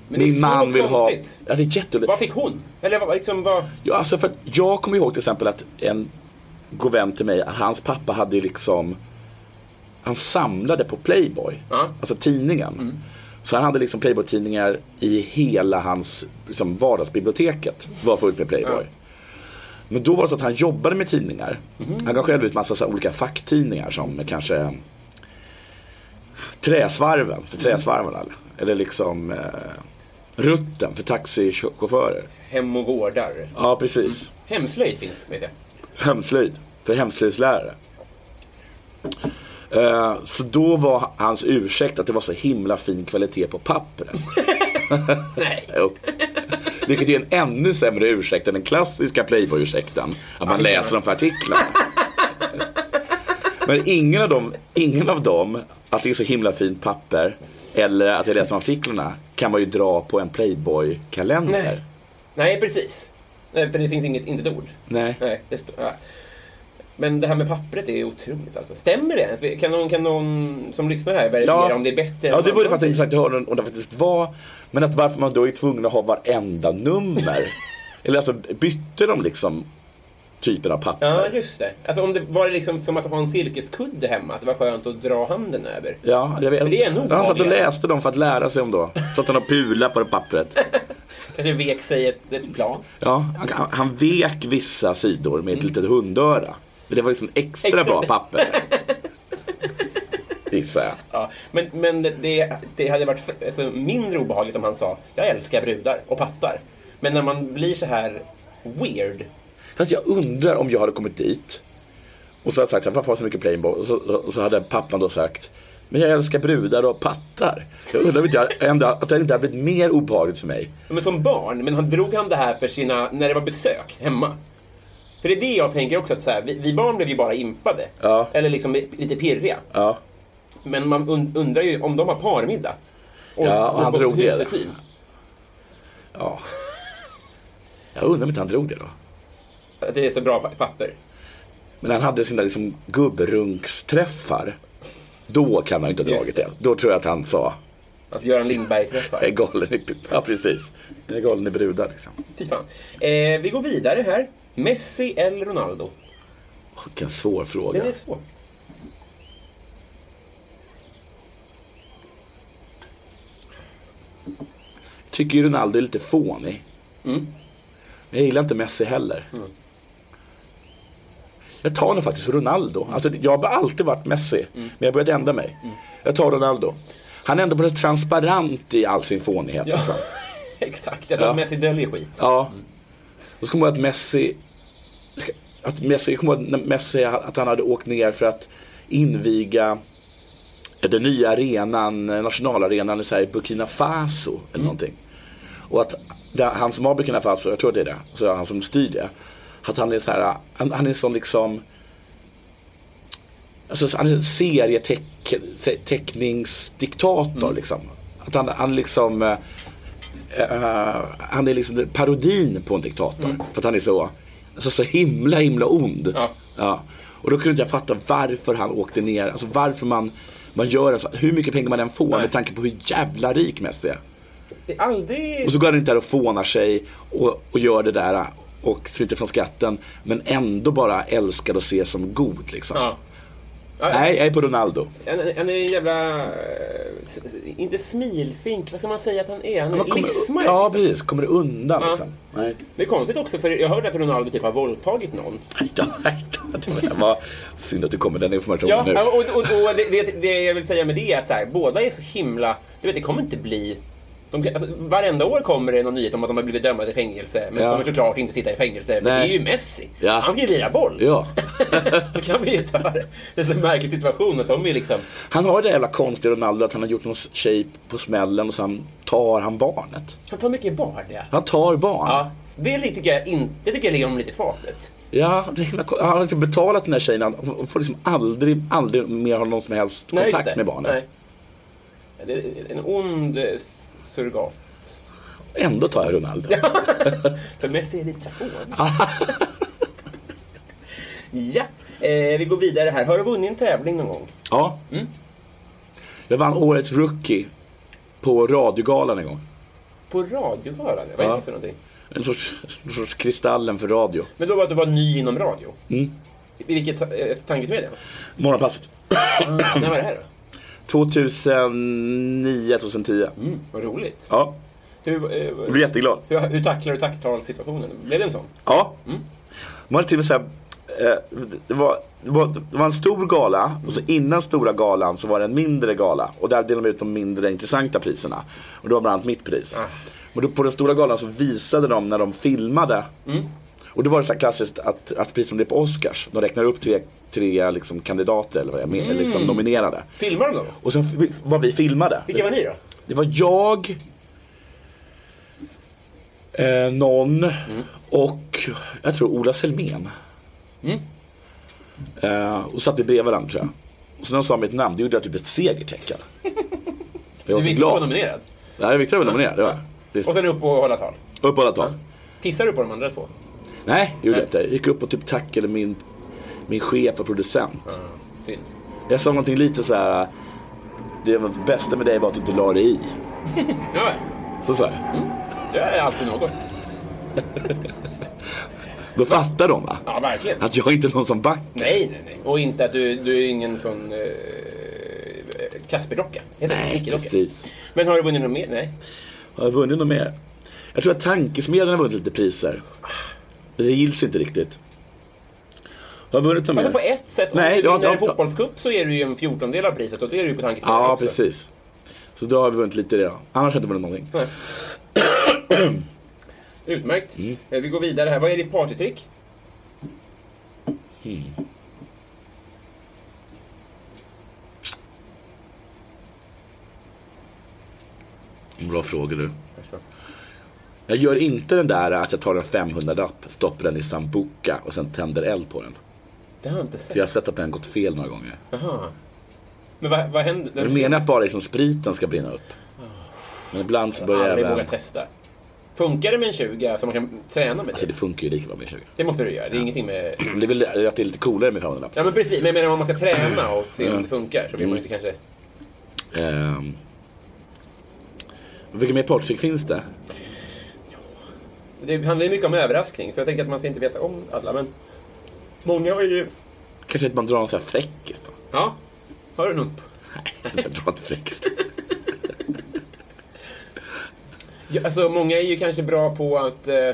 B: Men det är så
C: Min man vill ha...
B: konstigt.
C: Ja, det är jätteolyckligt.
B: Vad fick hon? Eller vad, liksom vad...
C: Ja, alltså för att jag kommer ihåg till exempel att en god vän till mig, hans pappa hade ju liksom, han samlade på Playboy,
B: Ja.
C: alltså tidningen. Så han hade liksom Playboy-tidningar i hela hans liksom, vardagsbiblioteket, var fullt med Playboy. Men då var det så att han jobbade med tidningar. Han gav själv ut massa så här, olika facktidningar som kanske Träsvarven för träsvarvarna. Eller liksom eh, Rutten för taxichaufförer.
B: Hem och gårdar.
C: Ja, precis
B: Hemslöjd finns, vet jag.
C: hemslöjd, för hemslöjdslärare. Eh, Så då var hans ursäkt att det var så himla fin kvalitet på pappret.
B: Nej.
C: Jo. Vilket är en ännu sämre ursäkt än den klassiska Playboy-ursäkten. Att man läser dem för artiklarna. Men ingen av, dem, ingen av dem, att det är så himla fint papper eller att jag läser de artiklarna, kan man ju dra på en Playboy-kalender.
B: Nej. Nej, precis. Nej, för det finns inget, inte ett ord.
C: Nej.
B: Nej, det stå, ja. Men det här med pappret är otroligt alltså. Stämmer det ens? Kan någon, kan någon som lyssnar här verifiera om det är bättre?
C: Ja,
B: än
C: det vore
B: annan
C: faktiskt
B: tid?
C: intressant att höra om det faktiskt var. Men att varför man då är tvungen att ha varenda nummer. Eller alltså bytte de liksom typen av papper?
B: Ja, just det. Alltså, om det var det liksom som att ha en silkeskudde hemma, att det var skönt att dra handen över.
C: Ja, jag vet.
B: Men det är nog
C: han satt och
B: vanligare.
C: läste dem för att lära sig om då. Satt han och pula på det pappret.
B: Kanske vek sig ett, ett plan.
C: Ja, han, han- han vek vissa sidor med ett litet hundöra. Men det var liksom extra,
B: Mm. Extra.
C: bra papper. Gissar jag.
B: Ja. Men, men det, det hade varit f- alltså, mindre obehagligt om han sa jag älskar brudar och pattar. Men när man blir så här weird.
C: Fast jag undrar om jag hade kommit dit och så hade jag sagt så här, varför har du så mycket Playboy? Och så, och så hade pappan då sagt, men jag älskar brudar och pattar. Jag undrar om inte jag, ändå, att det inte hade blivit mer obehagligt för mig.
B: Men som barn, men han drog han det här för sina, när det var besök hemma? För det är det jag tänker också, att så här, vi, vi barn blev ju bara impade.
C: Ja.
B: Eller liksom lite pirriga.
C: Ja.
B: Men man und- undrar ju om de har parmiddag. Och,
C: Ja, och han drog det.
B: husesyn.
C: ja. Jag undrar om inte han drog det då.
B: Att Det är så bra pa- papper.
C: Men han hade sina liksom gubbrunksträffar. Då kan han ju inte ha
B: Just
C: dragit
B: det.
C: det. Då tror jag att han sa,
B: Alltså Göran Lindberg träffar.
C: jag är galen i, ja, precis. Jag är galen i brudar. Liksom.
B: Fy fan. Eh, vi går vidare här. Messi eller Ronaldo?
C: Vilken svår
B: Det
C: fråga.
B: är svårt.
C: tycker ju Ronaldo är lite fånig. Men jag gillar inte Messi heller. Jag tar nog faktiskt Ronaldo. Alltså, jag har alltid varit Messi, men jag började ändra mig. Jag tar Ronaldo. Han är ändå på något transparent i all sin fånighet.
B: Ja.
C: Alltså.
B: Exakt, jag tror att
C: Ja.
B: Messi döljer skit.
C: Ja. Och så kommer jag ihåg att Messi, att Messi, jag kommer ihåg när Messi, att han hade åkt ner för att inviga den nya arenan, eh, nationalarenan i så här i Burkina Faso eller någonting. Och att där, han som har Burkina Faso, jag tror det är det, så han som styr det, att han är så här, han, han är som liksom Alltså han är en serieteckningsdiktator
B: Mm.
C: liksom. Att han, han liksom eh, eh, han är liksom parodin på en diktator. För att han är så, alltså, så himla himla ond.
B: Mm. Ja.
C: Och då kunde inte jag fatta varför han åkte ner, alltså varför man, man gör en så, hur mycket pengar man än får
B: Nej.
C: med tanke på hur jävla rik Messi är.
B: Det är aldrig...
C: Och så går han inte där och fånar sig och, och gör det där och smiter från skatten. Men ändå bara älskad och ses som god liksom.
B: Ja. Ja, ja.
C: Nej, jag är på Ronaldo.
B: Han, han är en jävla... eh, s- s- Inte smilfink, vad ska man säga att han är? Han är
C: Man kommer-
B: lismare.
C: Ja,
B: liksom.
C: precis. Kommer det undan
B: Ja.
C: liksom. Nej.
B: Det är konstigt också, för jag hörde att Ronaldo typ har våldtagit någon.
C: Nej, då, nej, då. Det var- var synd att du kom med den informationen
B: Ja,
C: nu.
B: och, och, och det, det, det jag vill säga med det är att så här, båda är så himla... Du vet, det kommer inte bli... De, alltså, varenda år kommer det någon nyhet om att de har blivit dömda till fängelse. Men
C: Ja.
B: kommer såklart inte sitta i fängelse. Men
C: Nej.
B: det är ju Messi.
C: Ja.
B: Han ska ju lira boll.
C: Ja.
B: så kan vi ju ta det. Det är så en märklig situation att de är liksom...
C: Han har det jävla konstiga Ronaldo att han har gjort någon tjej på smällen och sen tar han barnet.
B: Han tar mycket barn, ja.
C: Han tar barn.
B: ja. Det tycker jag inte... Det tycker jag ligger om lite i fatet.
C: Ja, det är himla, kon- han har liksom betalat den här tjejen och får liksom aldrig, aldrig mer ha någon som helst
B: Nej,
C: kontakt
B: just det.
C: med barnet.
B: Nej. Det är en ond eh, surrogat.
C: Ändå tar jag Ronaldo.
B: För Messi är lite tvåan. ja, eh, vi går vidare här. Har du vunnit en tävling någon gång?
C: Ja. Jag vann årets rookie på radiogalan en gång.
B: På radiogalan? Vad är
C: Ja.
B: det för någonting?
C: En sorts, en sorts Kristallen för radio. Mm.
B: Men då var du var ny inom radio? I vilket eh, tankesmedja?
C: Morgonpasset. Mm.
B: När var det här då?
C: 2009, 2010.
B: Mm, vad roligt.
C: Ja,
B: Hur, eh,
C: jag blev jätteglad.
B: hur, hur tacklar du tacktalssituationen? Blev det en sån?
C: Ja.
B: Mm.
C: Man hade till och med så här, eh, det, var, det, var, det var en stor gala och så innan stora galan så var det en mindre gala. Och där delade de ut de mindre intressanta priserna. Och det var bland annat mitt pris.
B: Ah.
C: Men då på den stora galan så visade de när de filmade.
B: Mm.
C: Och då var det så här klassiskt att, att precis som det är på Oscars, de räknar upp tre, tre liksom kandidater eller vad jag
B: Mm.
C: menar, liksom nominerade.
B: Filmar de då?
C: Och sen f- var vi filmade.
B: Vilka var ni då?
C: Det var jag, eh, någon och jag tror Ola Selmén.
B: Mm.
C: Eh, och satt vi bredvid varandra tror jag. Och sen när han sa mitt namn, det gjorde jag typ ett segertecken. För jag var
B: Du visste
C: så
B: att du var
C: glad.
B: nominerad?
C: Nej, jag visste att jag var nominerad. Det var jag. Visst.
B: Och sen upp och hålla tal?
C: Upp alla tal.
B: Pissar du på de andra två?
C: Nej, det gjorde jag inte. Jag gick upp och typ tackade min, min chef och producent.
B: Synd.
C: Jag sa någonting lite så här. Det var- bästa med dig var att du inte la dig i.
B: Ja,
C: Så sa jag.
B: Mm. det är alltid något.
C: Då fattar de va?
B: Ja, verkligen.
C: Att jag inte är någon som back.
B: Nej, nej, nej. Och inte att du, du är ingen sån eh, Kasperdocka. Heter det?
C: Nej,
B: Nickedocka.
C: precis.
B: Men har du vunnit något mer? Nej.
C: Har jag vunnit något mer? Jag tror att Tankesmedjan har vunnit lite priser. Det gills inte riktigt. Har jag vunnit något
B: Alltså
C: mer?
B: på ett sätt, om
C: Nej,
B: du
C: ja,
B: vinner
C: ja,
B: en
C: ja.
B: fotbollscup så är du ju en fjortondel av priset och då är du ju på tankesmedjan
C: Ja,
B: också.
C: precis. Så då har vi vunnit lite det då. Annars har jag inte vunnit någonting.
B: Nej. Utmärkt.
C: Mm.
B: Eh, Vi går vidare här. Vad är ditt partytrick?
C: Hmm. Bra frågor du. Jag gör inte den där att jag tar en 500-lapp, stoppar den i sambuca och sen tänder eld på den.
B: Det har jag inte
C: För jag
B: sett.
C: har sett att den gått fel några gånger.
B: Jaha. Men vad, vad händer?
C: Jag menar att bara liksom spriten ska brinna upp. Men ibland så
B: jag har
C: börjar
B: aldrig
C: även...
B: vågat testa. Funkar det med en 20 som man kan träna med?
C: Alltså
B: Det,
C: det funkar ju lika bra med 20.
B: det måste du göra. Det är ingenting med...
C: Det är väl att det är lite coolare med 500-lapp.
B: Ja men precis, men jag menar om man ska träna och se
C: Mm.
B: om det funkar så vill man ju inte kanske...
C: Ehm. Vilka mer partytrick finns det?
B: Det handlar ju mycket om överraskning så jag tänker att man ska inte veta om alla men... Många har ju...
C: Kanske att man drar en sån här fräckis då?
B: Ja, har du något?
C: Jag drar inte fräckis.
B: Ja, alltså många är ju kanske bra på att eh,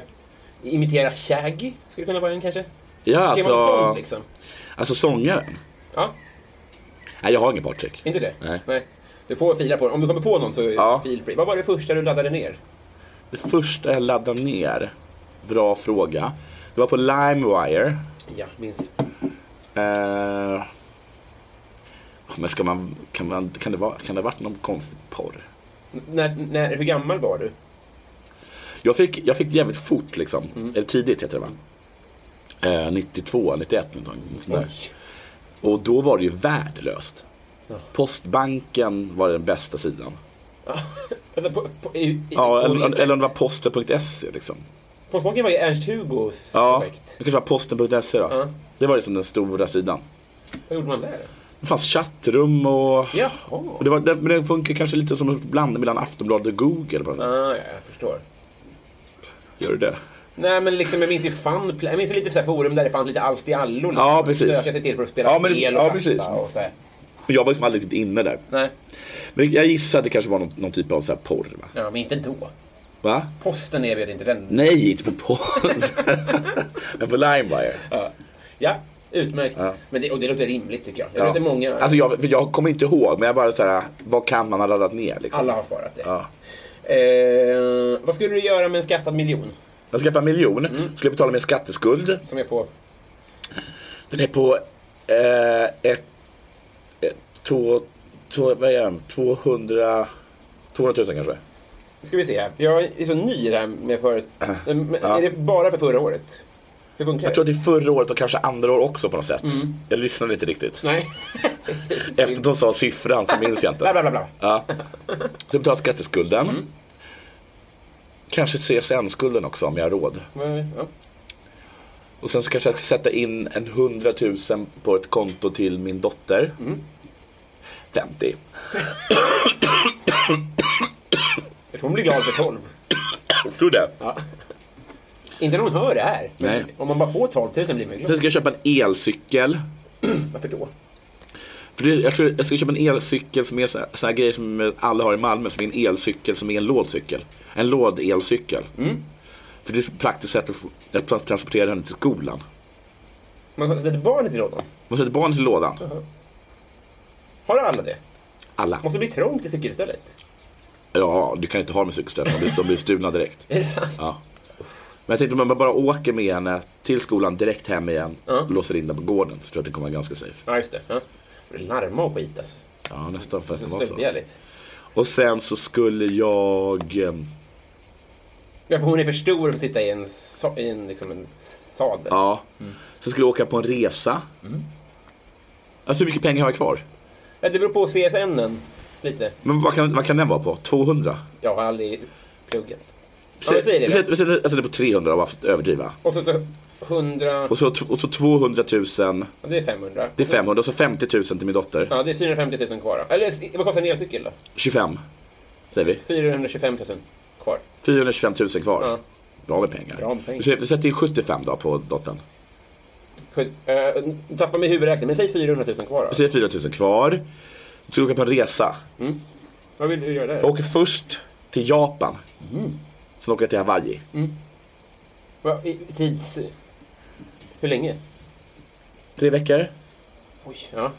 B: imitera Shaggy, skulle kunna vara en kanske.
C: Ja,
B: Är man sån
C: alltså,
B: liksom?
C: alltså sångaren.
B: Ja,
C: Nej, jag har ingen partytrick.
B: inte det?
C: Nej.
B: Du får fila på den. Om du kommer på någon så
C: Ja.
B: feel free. Vad var det första du laddade ner?
C: Det första jag laddade ner, bra fråga. Det var på LimeWire.
B: Ja, minns.
C: Eh, men ska man, kan, man, kan, det vara, kan det ha varit någon konstig porr?
B: N- När, när, hur gammal var du?
C: Jag fick, jag fick det jävligt fort liksom.
B: Mm.
C: Eller tidigt heter det va? Eh, 92, 91 någonting. sånt där. Och då var det ju värdelöst. Postbanken var den bästa sidan.
B: Vänta, på, på, i, i,
C: Ja,
B: på
C: eller,
B: Lindsay.
C: eller om det var posten.se liksom.
B: Postbanken var ju Ernst-Hugos
C: Ja,
B: projekt.
C: det kanske var posten.se då.
B: Ja.
C: Det var liksom den stora sidan.
B: Vad gjorde man där?
C: Det fanns chattrum och...
B: Jaha.
C: och det var, det, men det funkar kanske lite som en blandning mellan Aftonbladet och Google. På något sätt.
B: Ah, ja, jag förstår.
C: Gör du det?
B: Nej, men liksom, jag minns ju funpla- jag minns ju lite så här forum där det fanns lite allt i allo. Liksom.
C: Ja, precis.
B: Söka sig till för att spela
C: Ja, men-
B: spel och
C: ja,
B: chatta
C: precis.
B: och så här.
C: Men jag var liksom aldrig riktigt inne där.
B: Nej,
C: Men jag gissar att det kanske var någon, någon typ av så här porr. Va?
B: ja, men inte då.
C: va?
B: Posten erbjöd inte den.
C: Nej, inte på porr. men på Limewire.
B: Ja, utmärkt. Men det, och det låter rimligt tycker jag. Jag vet inte många.
C: Alltså jag, för jag kommer inte ihåg, men jag bara så här, vad kan man ha laddat ner? Liksom?
B: Alla har svarat det.
C: Ja.
B: Eh, vad skulle du göra med en skattad miljon?
C: Jag skaffade en miljon,
B: Mm.
C: skulle betala min skatteskuld.
B: Som är på...
C: Den är på eh, ett, ett, två, två, vad är den? 200, 200 000 kanske.
B: Nu ska vi se här. Jag är så ny i det här med förut. Men
C: Ja.
B: Är det bara för förra året? Hur funkar
C: Jag tror att det är förra året och kanske andra år också på något sätt.
B: Mm.
C: Jag lyssnade inte riktigt.
B: Nej.
C: Efter att de sa siffran så minns jag
B: Bla,
C: inte.
B: bla, bla, bla.
C: Ja. Så jag betalar skatteskulden.
B: Mm.
C: Kanske CSN-skulden också om jag har råd.
B: Men, ja.
C: Och sen så kanske jag ska sätta in en 100 000 på ett konto till min dotter. 50.
B: Jag tror hon blir glad för 12.
C: Jag tror det.
B: Inte när hon hör det här. Men
C: Nej.
B: om man bara får 12 000 blir man glad.
C: Sen ska jag köpa en elcykel.
B: Varför då?
C: För det, jag, tror, jag ska köpa en elcykel som är sån sån här grej som alla har i Malmö. Som är en elcykel som är en lådcykel. En lådelcykel. För det är ett praktiskt sätt att, få- att transportera den till skolan.
B: Man sätter barnet i lådan.
C: Man sätter barnet i lådan.
B: Har alla det?
C: Alla.
B: Måste det bli trångt i cykelstället?
C: Ja, du kan inte ha dem i cykelställning. De blir- De blir stulna direkt.
B: Är det sant?
C: Ja. Men jag tänkte om man bara åker med henne till skolan, direkt hem igen, och låser in den på gården. Så tror jag att det kommer vara ganska safe.
B: Ja, just det. Ja. Det är Larma och skit alltså.
C: Ja, nästan för att det var så.
B: Stöldbegärligt.
C: Och sen så skulle jag... ehm,
B: Ja, för hon är för stor för att sitta i en, sa- i en, liksom en sadel.
C: Ja.
B: Mm.
C: Så skulle jag åka på en resa. Alltså hur mycket pengar har jag kvar?
B: Ja, Det beror på CSN lite.
C: Men vad kan, vad kan den vara på? 200?
B: Jag har aldrig pluggat. Ja, vi säger det.
C: vi säger, vi säger, jag sätter alltså, på 300 bara för att överdriva.
B: Och så, så 100...
C: Och så, och så 200 000,
B: Ja, det är 500.
C: det är 500 och så 50 000 till min dotter.
B: Ja, det är 450 000 kvar. då. Eller s- vad kostar en elcykel då?
C: 25, säger vi.
B: 425 000 kvar.
C: 425 000 kvar.
B: Ja.
C: Bra med pengar.
B: Bra med pengar.
C: Vi säger- Vi sätter in 75 då på dottern.
B: Uh, tappar mig huvudräkningen, men säg 400 000 kvar
C: Vi
B: då.
C: säger 4 000 kvar. Så ska jag åka på en resa.
B: Vad vill du göra där?
C: Jag åker först till Japan.
B: Mm.
C: Sen åker jag till Hawaii.
B: Vad- i- tids... Hur länge?
C: Tre veckor?
B: Oj, ja.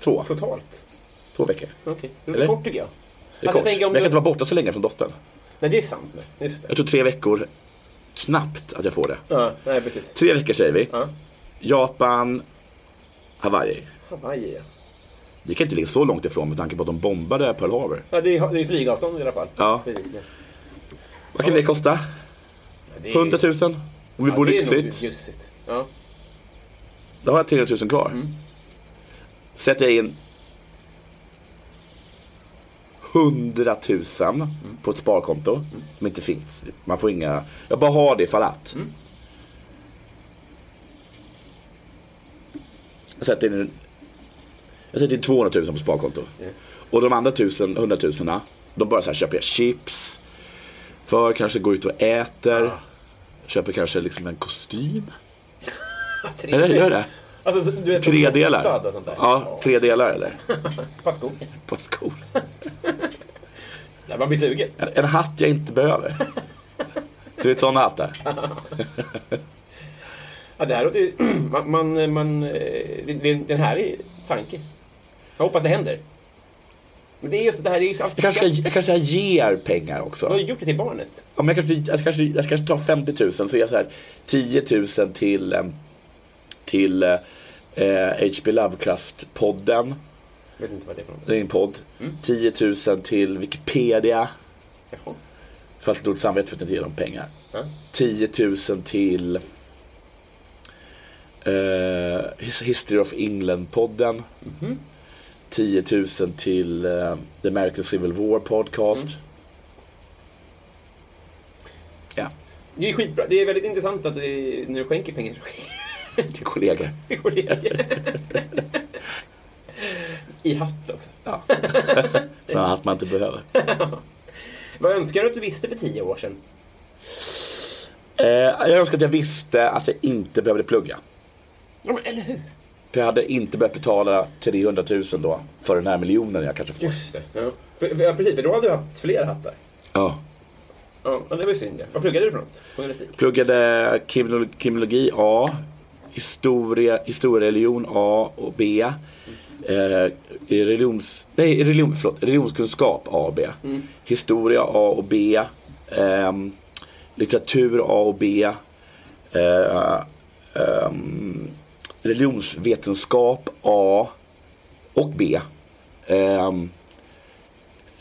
C: Två.
B: Totalt.
C: Två veckor.
B: Okej. Det
C: Eller?
B: är kort tycker jag.
C: Det är
B: Alltså,
C: kort.
B: jag tänker om
C: Men jag
B: du-
C: kan inte vara borta så länge från dottern.
B: Nej, det är sant. nu. Just det.
C: Jag tror tre veckor, knappt att jag får det.
B: Ja, nej, precis.
C: Tre veckor säger vi.
B: Ja.
C: Japan, Hawaii.
B: Hawaii, ja.
C: Det kan inte ligga så långt ifrån med tanke på att de bombade Pearl Harbor.
B: Ja, det är, det är flygavstånd i alla fall.
C: Ja.
B: Precis, ja.
C: Vad kan det kosta?
B: Det är-
C: 100 000? Om vi
B: Eh. Ja,
C: bor
B: det är nog
C: lyxigt.
B: Bjussigt. Ja.
C: Då har jag 300 000 kvar. Sätter jag in 100 000 på ett sparkonto som inte finns. Man får inga... Jag bara har det ifall att. Jag sätter in... Jag sätter in 200 000 på sparkonto. Och de andra 1000, 100 000 de bara så här, köper jag chips. För kanske går ut och äter. Köper kanske liksom en kostym. Eller gör det?
B: Alltså, så- du är
C: Tre delar.
B: hotad Och sånt där.
C: Ja, tre delar eller?
B: Pass skogen.
C: På skor.
B: Man blir sugen.
C: En, en hatt jag inte behöver. Du vet sådana hattar?
B: Ja, det här låter ju- man, man, man, eh, det, det, det är en härlig tanke. Jag hoppas det händer. Men det är just det här, det är ju så alltid
C: Jag kanske,
B: skatt.
C: jag kanske jag ger pengar
B: Du har
C: också.
B: ju gjort det till barnet.
C: Om jag, kanske, jag, kanske, jag kanske tar 50 000 så är jag så här 10 000 till, eh, till eh, H.P. Lovecraft-podden.
B: Jag vet inte vad det är för något.
C: Det är en podd.
B: Mm.
C: 10 000 till Wikipedia.
B: Jaha.
C: För att dåligt samvete för att jag inte ge dem pengar.
B: Ja.
C: 10 000 till Eh, His- History of England-podden. 10 000 till eh, The American Civil War Podcast. Ja,
B: Det är skitbra. Det är väldigt intressant att det, när du skänker pengar så
C: till kollegor.
B: går det I hatt också.
C: Ja. Sådana att man inte behöver.
B: Vad önskar du att du visste för tio år sedan?
C: Eh, jag önskar att jag visste att jag inte behövde plugga.
B: Ja, men, eller hur?
C: För jag hade inte behövt betala 300 000 då för den här miljonen jag kanske får.
B: Just det. Ja. För- Ja, precis, för då hade du haft fler hattar.
C: Ja.
B: Ja, men det var ju synd det. Vad pluggade du för något? Journalistik?
C: Pluggade kriminolo- kriminologi A, historia, historiereligion A och B. Eh, i religions, nej, i religion, förlåt, religionskunskap A och B. Historia A och B. ehm, litteratur A och B. Eh, ehm, religionsvetenskap A och B. Ehm,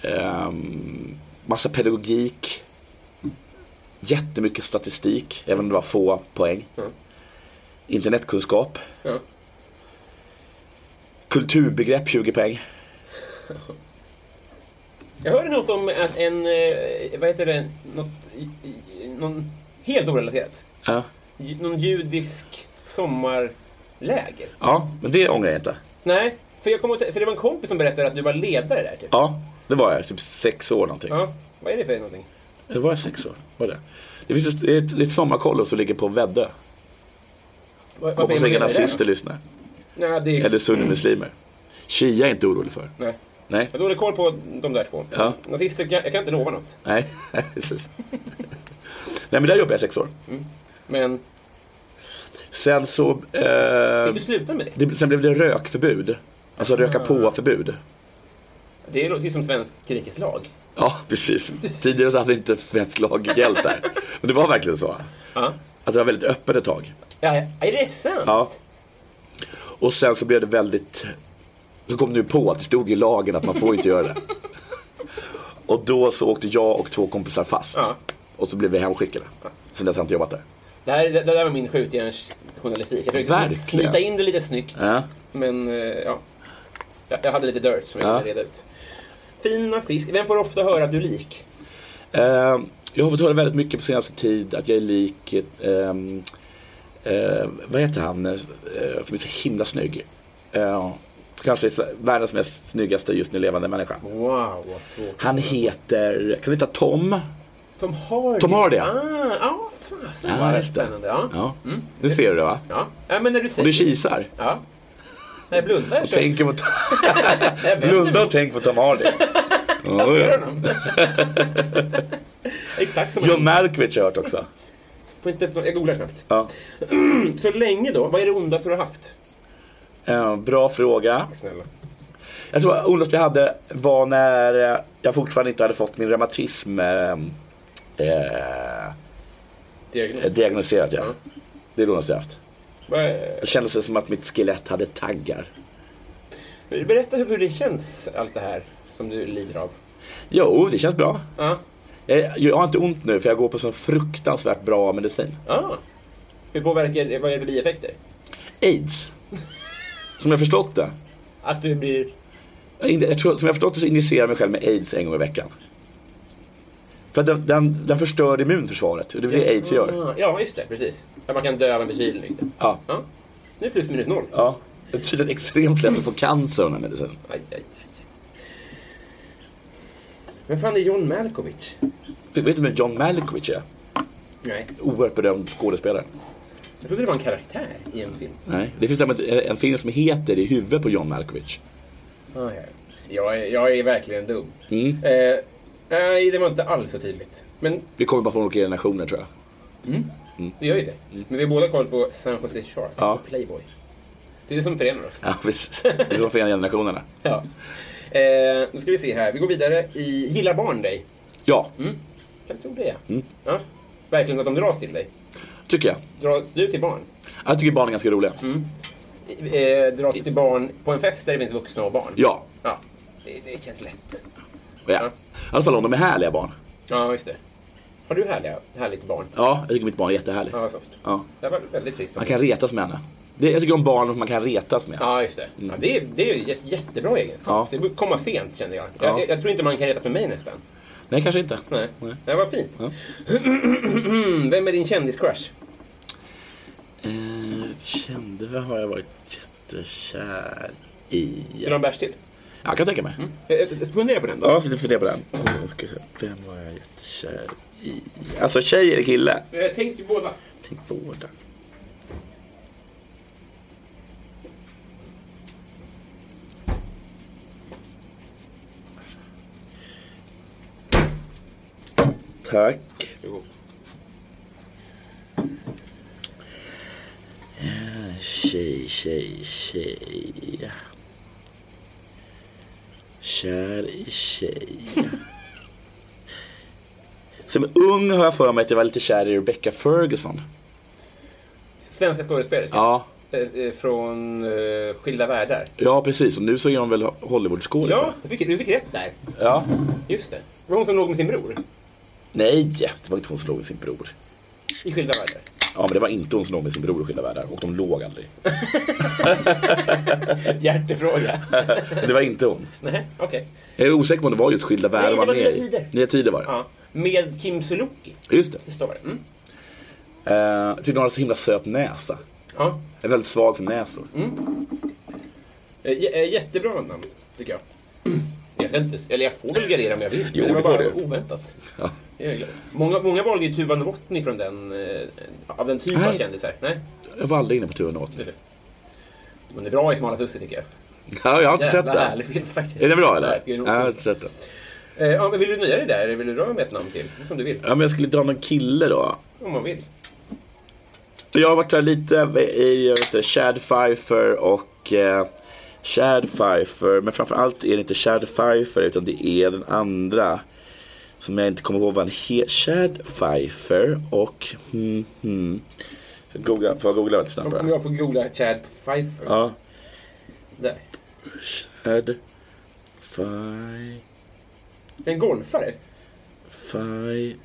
C: ehm, massa pedagogik jättemycket statistik, även om det var få poäng.
B: Mm.
C: Internetkunskap.
B: Ja.
C: Kulturbegrepp 20 poäng.
B: Jag hörde något om att en, eh, vad heter det, något, i- i- någon, helt orelaterat,
C: Ja.
B: Ju- någon judisk sommarläger.
C: ja, men det ångrar jag inte.
B: Nej, för, jag kom att, för det var en kompis som berättade att du var ledare där typ.
C: Ja, det var jag. Typ sex år någonting.
B: Ja, vad är det för någonting?
C: Det var jag sex år? Var det? Det finns ett, ett, ett sommarkollo som ligger på Väddö.
B: Var, varför är
C: Hoppas
B: man
C: inga
B: ledare där
C: nazister
B: då?
C: lyssnar.
B: Nej, det är...
C: Eller sunnimuslimer. Shia är inte orolig för.
B: Nej.
C: Nej.
B: Jag har dålig koll på de där två.
C: Ja.
B: Nazister, kan, jag kan inte lova något.
C: Nej. Precis. Nej, men där jobbade jag sex år.
B: Men,
C: Sen så...
B: fick
C: Eh,
B: du sluta med det?
C: det, sen blev det rökförbud. Alltså röka
B: Ah.
C: på-förbud.
B: Det låter ju som svensk krikeslag.
C: Ja, precis. Tidigare så hade inte svensk lag gällt där. Men det var verkligen så.
B: Ja.
C: Att det var väldigt öppet ett tag.
B: Ja, ja, är det sant?
C: Ja. Och sen så blev det väldigt... Så kom nu på att det stod i lagen att man får inte göra det. Och då så åkte jag och två kompisar fast.
B: Ja.
C: Och så blev vi hemskickade. Sen dess har jag inte jobbat där.
B: Det, här, det, det där var min skjutjärnsjournalistik. Jag försökte
C: Verkligen.
B: slita in det lite snyggt.
C: Ja.
B: Men eh, ja, jag, jag hade lite dirt som jag
C: Ja.
B: kunde reda ut. Fina fisk. Vem får ofta höra att du är lik?
C: Eh, jag har fått höra väldigt mycket på senaste tid att jag är lik... ehm, eh, vad heter han eh, som är så himla snygg? Eh, kanske världens mest snyggaste just nu levande människa.
B: Wow, vad svårt.
C: Han heter, kan vi ta Tom?
B: Tom Hardy.
C: Tom Hardy, ja.
B: ja. Ah, ja, fasen vad det är spännande. Ja. Mm. Ja.
C: Ja. Nu ser du det va?
B: Ja. men när du
C: Och
B: säger...
C: du kisar.
B: Ja. När jag blundar så...
C: Tänker på
B: Jag vänder
C: Blunda och tänk på Tom Hardy.
B: mig
C: Oh,
B: till
C: ja.
B: honom. Exakt som
C: John
B: en...
C: Malkovich har jag hört också.
B: Får inte... Jag googlar snabbt.
C: Ja.
B: Så länge då, vad är det ondaste du har haft?
C: Eh, Bra fråga.
B: Snälla.
C: Jag tror att ondast jag hade var när eh, jag fortfarande inte hade fått min reumatism eh, eh,
B: Diagnos.
C: diagnostiserad. Ja.
B: Ja.
C: Det är det ondaste jag haft.
B: Vad är-
C: Det kändes som att mitt skelett hade taggar.
B: Berätta hur det känns, allt det här som du lider av.
C: Jo, det känns bra.
B: Ja.
C: Jag, jag har inte ont nu för jag går på sån fruktansvärt bra medicin.
B: ja. Hur påverkar det, vad är det för bieffekter?
C: Aids. Som jag förstått det.
B: Att du blir...
C: Jag in- Jag tror, som jag förstått det så injicerar jag mig själv med aids en gång i veckan. För att den, den, den förstör immunförsvaret. och Det är det aids gör.
B: Ah, Ja, just det, precis. Att man kan dö av en förkylning. liksom.
C: Ja.
B: Ja. Nu är plus minus noll.
C: ja. Det är tydligen extremt lätt att få cancer av den här medicinen.
B: Aj, aj, aj. Vem fan är John Malkovich?
C: Vet du vem John Malkovich är?
B: Nej.
C: Oerhört berömd skådespelare.
B: Jag trodde det var en karaktär i en film.
C: Nej. Det finns däremot en en film som heter I huvudet på John Malkovich.
B: Ah, ja. jag, är, jag är verkligen dum.
C: Mm.
B: Eh, nej, det var inte alls så tydligt. Men
C: Vi kommer bara från olika generationer tror jag.
B: vi gör ju det. Men vi har båda koll på San Jose Sharks
C: Ja.
B: och Playboy. Det är det som förenar oss.
C: Ja, visst. Det är från flera generationerna.
B: Ja. Eh, nu ska vi se här. Vi går vidare i Gillar barn dig?
C: Ja,
B: Jag tror det.
C: Mm.
B: Ja. Verkligen att de dras till dig.
C: tycker jag.
B: Dras du till barn?
C: Jag tycker barn är ganska roliga.
B: Eh, dras du till barn på en fest där det finns vuxna och barn?
C: Ja.
B: ja. Det, det känns lätt.
C: ja. I alla fall om de är härliga barn.
B: Ja, just det. Har du härliga, härligt barn?
C: Ja, jag tycker mitt barn är jättehärligt.
B: Ja, vad soft.
C: Ja.
B: Det var väldigt trist.
C: Man kan retas med henne. Det, jag tycker om barn som man kan retas med.
B: Ja, just det. Ja, det, är, det är ju jä- jättebra egenskap.
C: Mm. Ja.
B: Det borde komma sent, känner jag.
C: Ja.
B: Jag, jag. jag tror inte man kan retas med mig nästan.
C: Nej, kanske inte.
B: Nej, Nej. vad fint. Vem är din kändiscrush?
C: Eh, kände, vad har jag varit jättekär i?
B: Är det någon bärs till?
C: Jag kan tänka mig.
B: Eh, eh, Fundera på den då.
C: Ja, för det funderar på den. Jag Mm, ska se, Vem var jag jättekär i? Alltså tjej eller kille?
B: Eh, Tänk till båda.
C: Tänk båda. Tack. Tjej, tjej, tjej. Kär i tjej. Som ung har jag för mig att jag var lite kär i Rebecca Ferguson.
B: Svenska skådespelerskor.
C: Ja,
B: Eh, eh, Från eh, Skilda Världar.
C: ja precis. Och nu så är hon väl Hollywoodskådis?
B: Ja,
C: va?
B: du fick, du fick rätt där.
C: ja.
B: Just det. Det var hon som låg med sin bror
C: Nej, det var inte hon som låg med sin bror.
B: i Skilda Världar.
C: Ja, men det var inte hon som låg med sin bror i Skilda Världar. Och de låg aldrig.
B: Hjärtefråga.
C: Det var inte hon.
B: Nej, okej.
C: Jag är osäker på om det var just Skilda Världar
B: Nej, det
C: hon
B: var
C: med
B: Nya
C: i.
B: Tider.
C: Nya Tider var det.
B: Ja. Med Kim Sulocki.
C: Just det.
B: Det står det. Mm.
C: Eh, jag tyckte hon hade så himla söt näsa.
B: Ja.
C: Jag är väldigt svag för näsor.
B: Mm. Eh, j- eh, Jättebra namn, tycker jag. Jag ska inte, eller jag får väl gardera om jag vill.
C: Jo,
B: men det var
C: det får
B: bara
C: du.
B: oväntat.
C: Ja.
B: Det är jag glad. Många, många valde ju Tuva Novotny från den, eh, av den typen av
C: Nej.
B: kändisar. Nej,
C: Jag var aldrig inne på turen åt.
B: men det är bra i Smala Tusse tycker jag.
C: Ja, jag har inte sett
B: Jävla
C: den.
B: härlig film faktiskt.
C: Är det bra
B: Ja,
C: eller?
B: det är
C: jag
B: roligt.
C: har inte sett den.
B: Eh, ja, men vill du nöja dig där eller vill du dra med ett namn till? Som du vill.
C: Ja, men jag skulle dra någon kille då.
B: Om man vill.
C: Jag har varit där lite i jag vet inte, Chad Pfeiffer och eh, Chad Pfeiffer. Men framförallt är det inte Chad Pfeiffer utan det är den andra. Som jag inte kommer ihåg vad han heter. Chad Pfeiffer och... Hmm, hmm. Ska jag Googla, får jag googla lite
B: Om
C: snabbare?
B: jag får googla Chad Pfeiffer.
C: Ja.
B: Där.
C: Chad Pfeiffer.
B: En golfare?
C: Faj...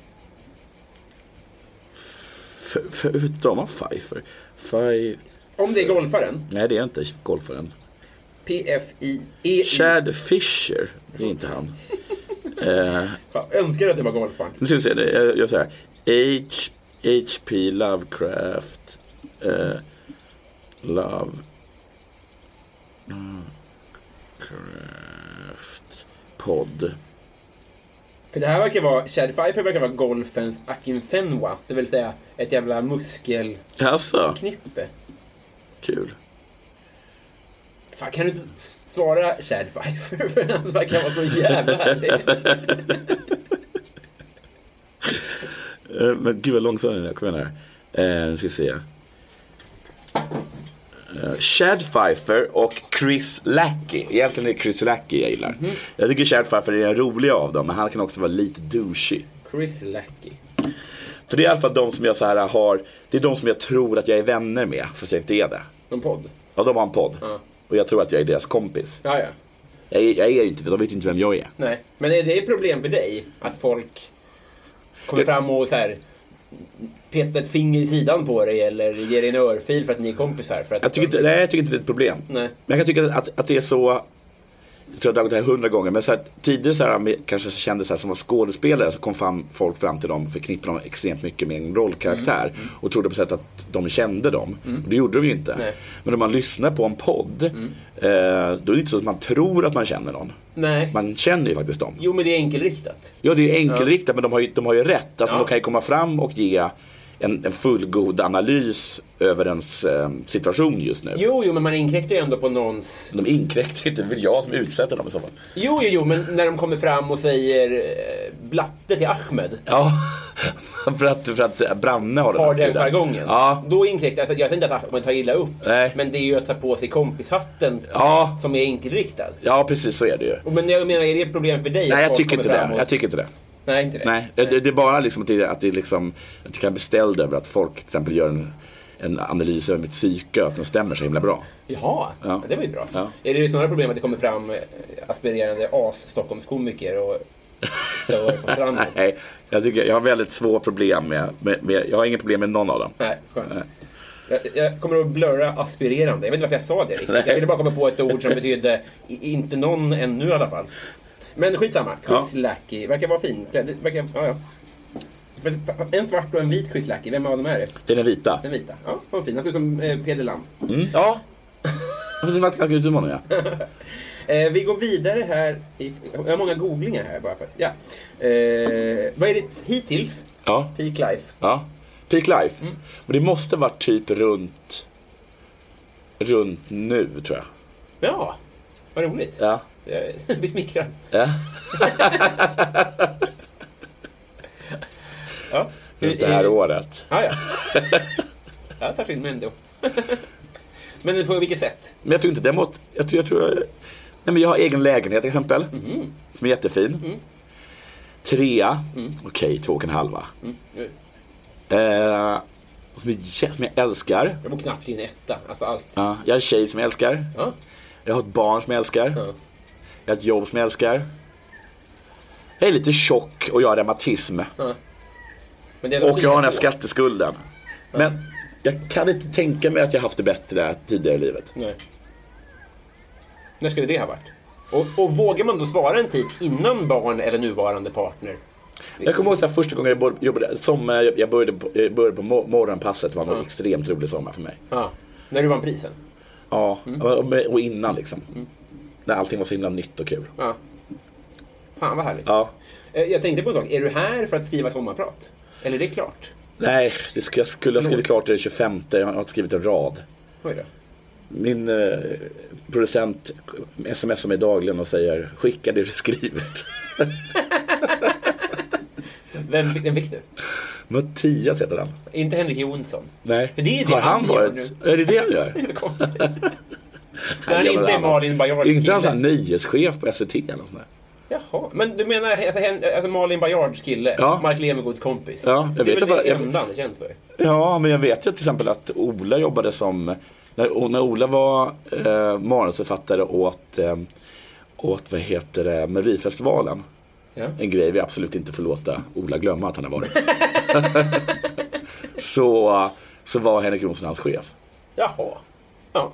C: F- f- Hur drar man Pfeiffer? Faj...
B: Om det är golfaren.
C: Nej, det är inte golfaren.
B: P-F-I-E-I.
C: Chad Fisher. Det är inte han.
B: Ja, önskar att det var golfaren.
C: Nu ska vi se. det- Jag gör så här. H... H.P. Lovecraft. Eh, love... Lovecraft... Podd.
B: För det här verkar vara, Chad Pfeiffer verkar vara golfens Akin Fenwa. Det vill säga ett jävla muskelknippe.
C: Jaså? Kul.
B: Fan, kan du inte s- svara Chad Pfeiffer? För han verkar vara så jävla härlig.
C: Eh, Men gud vad långsam den är. Kom igen här. Eh, nu ska vi se. Eh, Chad Pfeiffer och Chris Lackey. Egentligen är det Chris Lackey jag gillar. Jag tycker Chad Pfeiffer är den roliga av dem, men han kan också vara lite douchey.
B: Chris Lackey.
C: För det är i alla fall de som jag så här har, det är de som jag tror att jag är vänner med, fast jag inte är det.
B: Någon podd?
C: Ja, de har en podd.
B: Ja.
C: Och jag tror att jag är deras kompis.
B: Ja, ja.
C: Jag är, jag är ju inte, de vet ju inte vem jag är.
B: Nej. Men är det ett problem för dig att folk kommer fram och så här petar ett finger i sidan på dig eller ger dig en örfil för att ni är kompisar? För att
C: Jag tycker inte, nej, jag tycker inte det är ett problem.
B: Nej.
C: Men jag kan tycka att, att det är så, jag tror jag har dragit det här hundra gånger, men så här, tidigare så här, med, kanske kände så här, som var skådespelare så kom fram, folk fram till dem och förknippade dem extremt mycket med en rollkaraktär
B: Mm.
C: och trodde på sätt att de kände dem. Och det gjorde de ju inte.
B: Nej. Mm.
C: Men om man lyssnar på en podd, eh, då är det inte så att man tror att man känner någon.
B: Nej.
C: Man känner ju faktiskt dem.
B: Jo, men det är enkelriktat.
C: Ja, det är ju enkelriktat men de har ju, de har ju rätt. Alltså,
B: Ja.
C: De kan ju komma fram och ge en, en fullgod analys över ens eh, situation just nu.
B: Jo, jo, men man inkräktar ju ändå på någons
C: De inkräktar inte, det är väl jag som utsätter dem i så fall.
B: Jo, jo, jo, men när de kommer fram och säger eh, blatte till Ahmed.
C: Ja, för att, för att Branne har den
B: Har den
C: attityden.
B: jargongen.
C: Ja,
B: Då inkräktar alltså, jag. tänkte inte att Ahmed tar illa upp.
C: Nej.
B: Men det är ju att ta på sig kompishatten
C: Ja.
B: som är enkelriktad.
C: ja, precis så är det ju.
B: Och Men jag menar, är det ett problem för dig? att
C: Nej, jag
B: folk
C: tycker
B: kommer
C: inte
B: fram
C: det.
B: och-
C: Jag tycker inte det.
B: Nej, inte det.
C: Nej, det, det är bara liksom att det, att det liksom, att jag kan bli ställd över att folk till exempel gör en, en analys över mitt psyke och att den stämmer så himla bra.
B: Jaha, ja.
C: Ja.
B: det var ju bra.
C: Ja.
B: Är det snarare problem att det kommer fram eh, aspirerande as-Stockholmskomiker och stör på stranden?
C: Nej, jag, tycker, jag har väldigt svåra problem med, med, med, jag har inga problem med någon av dem.
B: Nej, skönt. Jag, jag kommer att blurra aspirerande. Jag vet inte varför jag sa det riktigt.
C: Nej.
B: Jag ville bara komma på ett ord som betydde i- inte någon ännu i alla fall. Men skitsamma.
C: Ja.
B: Quislaki verkar vara fin. Det Verkar, ja, ja. Men En svart och en vit quislaki. Vem av dem är det?
C: Det är den vita.
B: Den vita? Ja, vad fin. Han ser ut som eh, Peder Lamp.
C: Mm. Ja. Det var ganska kul utmaning, ja.
B: Eh, vi går vidare här. I, jag har många googlingar här bara för Ja. Eh, vad är ditt hittills?
C: ja.
B: Peak life?
C: Ja. Peak life. Men det måste varit typ runt, runt nu, tror jag.
B: Ja, vad roligt.
C: Ja.
B: Jag blir smickrad.
C: ja.
B: Ja.
C: Runt det här
B: Eh,
C: året.
B: Ja, ja. Jag tar in mig ändå. Men på vilket sätt?
C: Men jag tror inte däremot, jag tror, jag tror nej men jag har egen lägenhet till exempel. Som är jättefin. Trea, okej två och en halva.
B: Mm.
C: Eh, som, är, jä- som jag älskar.
B: Jag bor knappt i en etta. Alltså allt.
C: Ja, jag har en tjej som jag älskar.
B: Ja.
C: Jag har ett barn som jag älskar.
B: Ja.
C: Jag har ett jobb som jag älskar. Jag är lite tjock och jag har reumatism.
B: Men det är de
C: Och jag har den här
B: fyra
C: skatteskulden. Men jag kan inte tänka mig att jag haft det bättre tidigare i livet.
B: Nej. När skulle det ha varit? Och, och vågar man då svara en tid innan barn eller nuvarande partner?
C: Jag kommer ihåg så här, första gången jag bor- jobbade, som eh, jag började på, jag började på mor- morgonpasset var en extremt rolig sommar för mig.
B: Ja. Mm. När du vann prisen?
C: Ja, och- och innan liksom.
B: Mm.
C: När allting var så himla nytt och kul.
B: Ja. Fan vad härligt.
C: Ja.
B: Eh, Jag tänkte på en sak. Är du här för att skriva sommarprat? Eller är det klart?
C: Nej, det skulle, jag skulle ha skrivit klart det den 25, jag har inte skrivit en rad.
B: Oj då.
C: Min eh, producent smsar mig dagligen och säger skicka det du skrivit.
B: Vem, fick- vem fick du?
C: Mattias heter han.
B: Inte Henrik Jonsson?
C: Nej,
B: För det är det
C: har han
B: han gör
C: varit? Är det det han gör?
B: Det är så konstigt.
C: Han
B: är
C: gör väl
B: inte
C: annat.
B: Malin Baryards
C: Inte han
B: kille.
C: sån här nyhetschef på SVT eller något sånt där?
B: Jaha, men du menar alltså, hen, alltså Malin Baryards kille,
C: Ja.
B: Mark Levengoods kompis?
C: Ja, jag
B: det
C: vet
B: är väl
C: att-
B: det
C: jag-
B: enda han är känd för?
C: Ja, men jag vet ju till exempel att Ola jobbade som, när, när Ola var eh, manusförfattare åt, eh, åt vad heter det, Melodifestivalen.
B: Ja.
C: En grej vi absolut inte får låta Ola glömma att han har varit. så, så var Henrik Jonsson hans chef.
B: Jaha. Ja.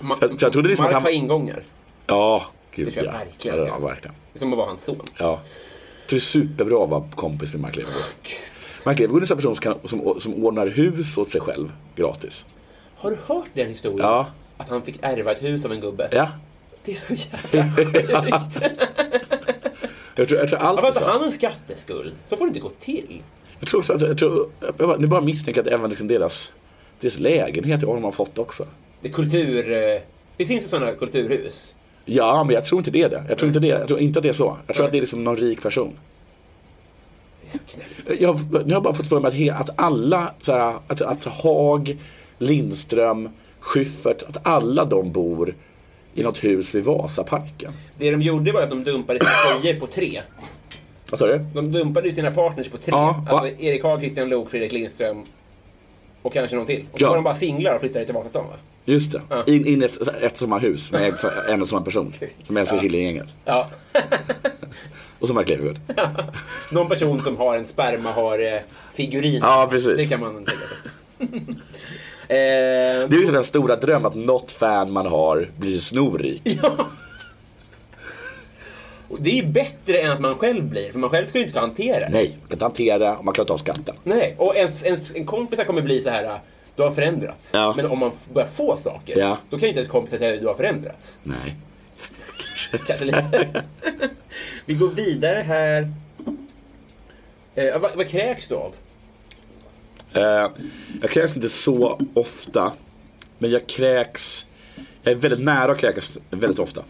B: Ma-
C: Så- så jag trodde liksom
B: Mark
C: att han-
B: har ingångar.
C: Ja, gud
B: Det tror
C: ja.
B: jag verkligen.
C: Ja, verkligen.
B: Det är som att vara hans son.
C: Ja. Jag tror det är superbra att vara kompis med Mark Levengood. Mark Levengood är en sån person som, kan, som, som ordnar hus åt sig själv gratis.
B: Har du hört den historien?
C: Ja.
B: Att han fick ärva ett hus av en gubbe?
C: Ja.
B: Det är så jävla sjukt.
C: Jag tror, jag tror allt
B: Varför
C: är
B: hade
C: så.
B: han en skatteskuld? Så får det inte gå till.
C: Jag tror också att, jag tror, jag bara, ni bara misstänker att även liksom deras, deras lägenhet har de har fått också.
B: Det är kultur... eh, Det finns ju sådana kulturhus.
C: Ja, men jag tror inte det är det. Jag tror inte, det. Jag tror inte att det är så. Jag tror att det är liksom någon rik person.
B: Det är så knäppt.
C: Jag, nu har jag bara fått för mig att, he, att alla, så här, att, att Haag, Lindström, Schyffert, att alla de bor i något hus vid Vasaparken.
B: Det de gjorde var att de dumpade sina tjejer på tre.
C: Vad sa du?
B: De dumpade ju sina partners på tre.
C: Ja, va?
B: alltså Erik Haag, Christian Lok, Fredrik Lindström och kanske någon till. Och så
C: Ja.
B: var de bara singlar och flyttade till Vasastan va?
C: Just det. In, in i ett, ett sommarhus med en, en och samma person. Som älskar Killinggänget.
B: Ja.
C: Och som Mark Levengood.
B: Någon person som har en spermahare-figurin.
C: Ja, precis.
B: Det kan man tänka sig. eh,
C: Det är ju liksom den stora drömmen att något fan man har blir snorrik.
B: och det är ju bättre än att man själv blir, för man själv skulle ju inte kunna hantera det.
C: Nej, man kan inte hantera det och man klarar inte av skatten.
B: Nej. Och ens, ens, en kompisar kommer bli så här, du har förändrats.
C: Ja.
B: Men om man f- börjar få saker,
C: Ja.
B: då kan ju inte ens kompisar säga du har förändrats.
C: Nej.
B: Kanske lite. Vi går vidare här. Eh, vad, vad kräks du av?
C: Eh, jag kräks inte så ofta. Men jag kräks, jag är väldigt nära att kräkas väldigt ofta.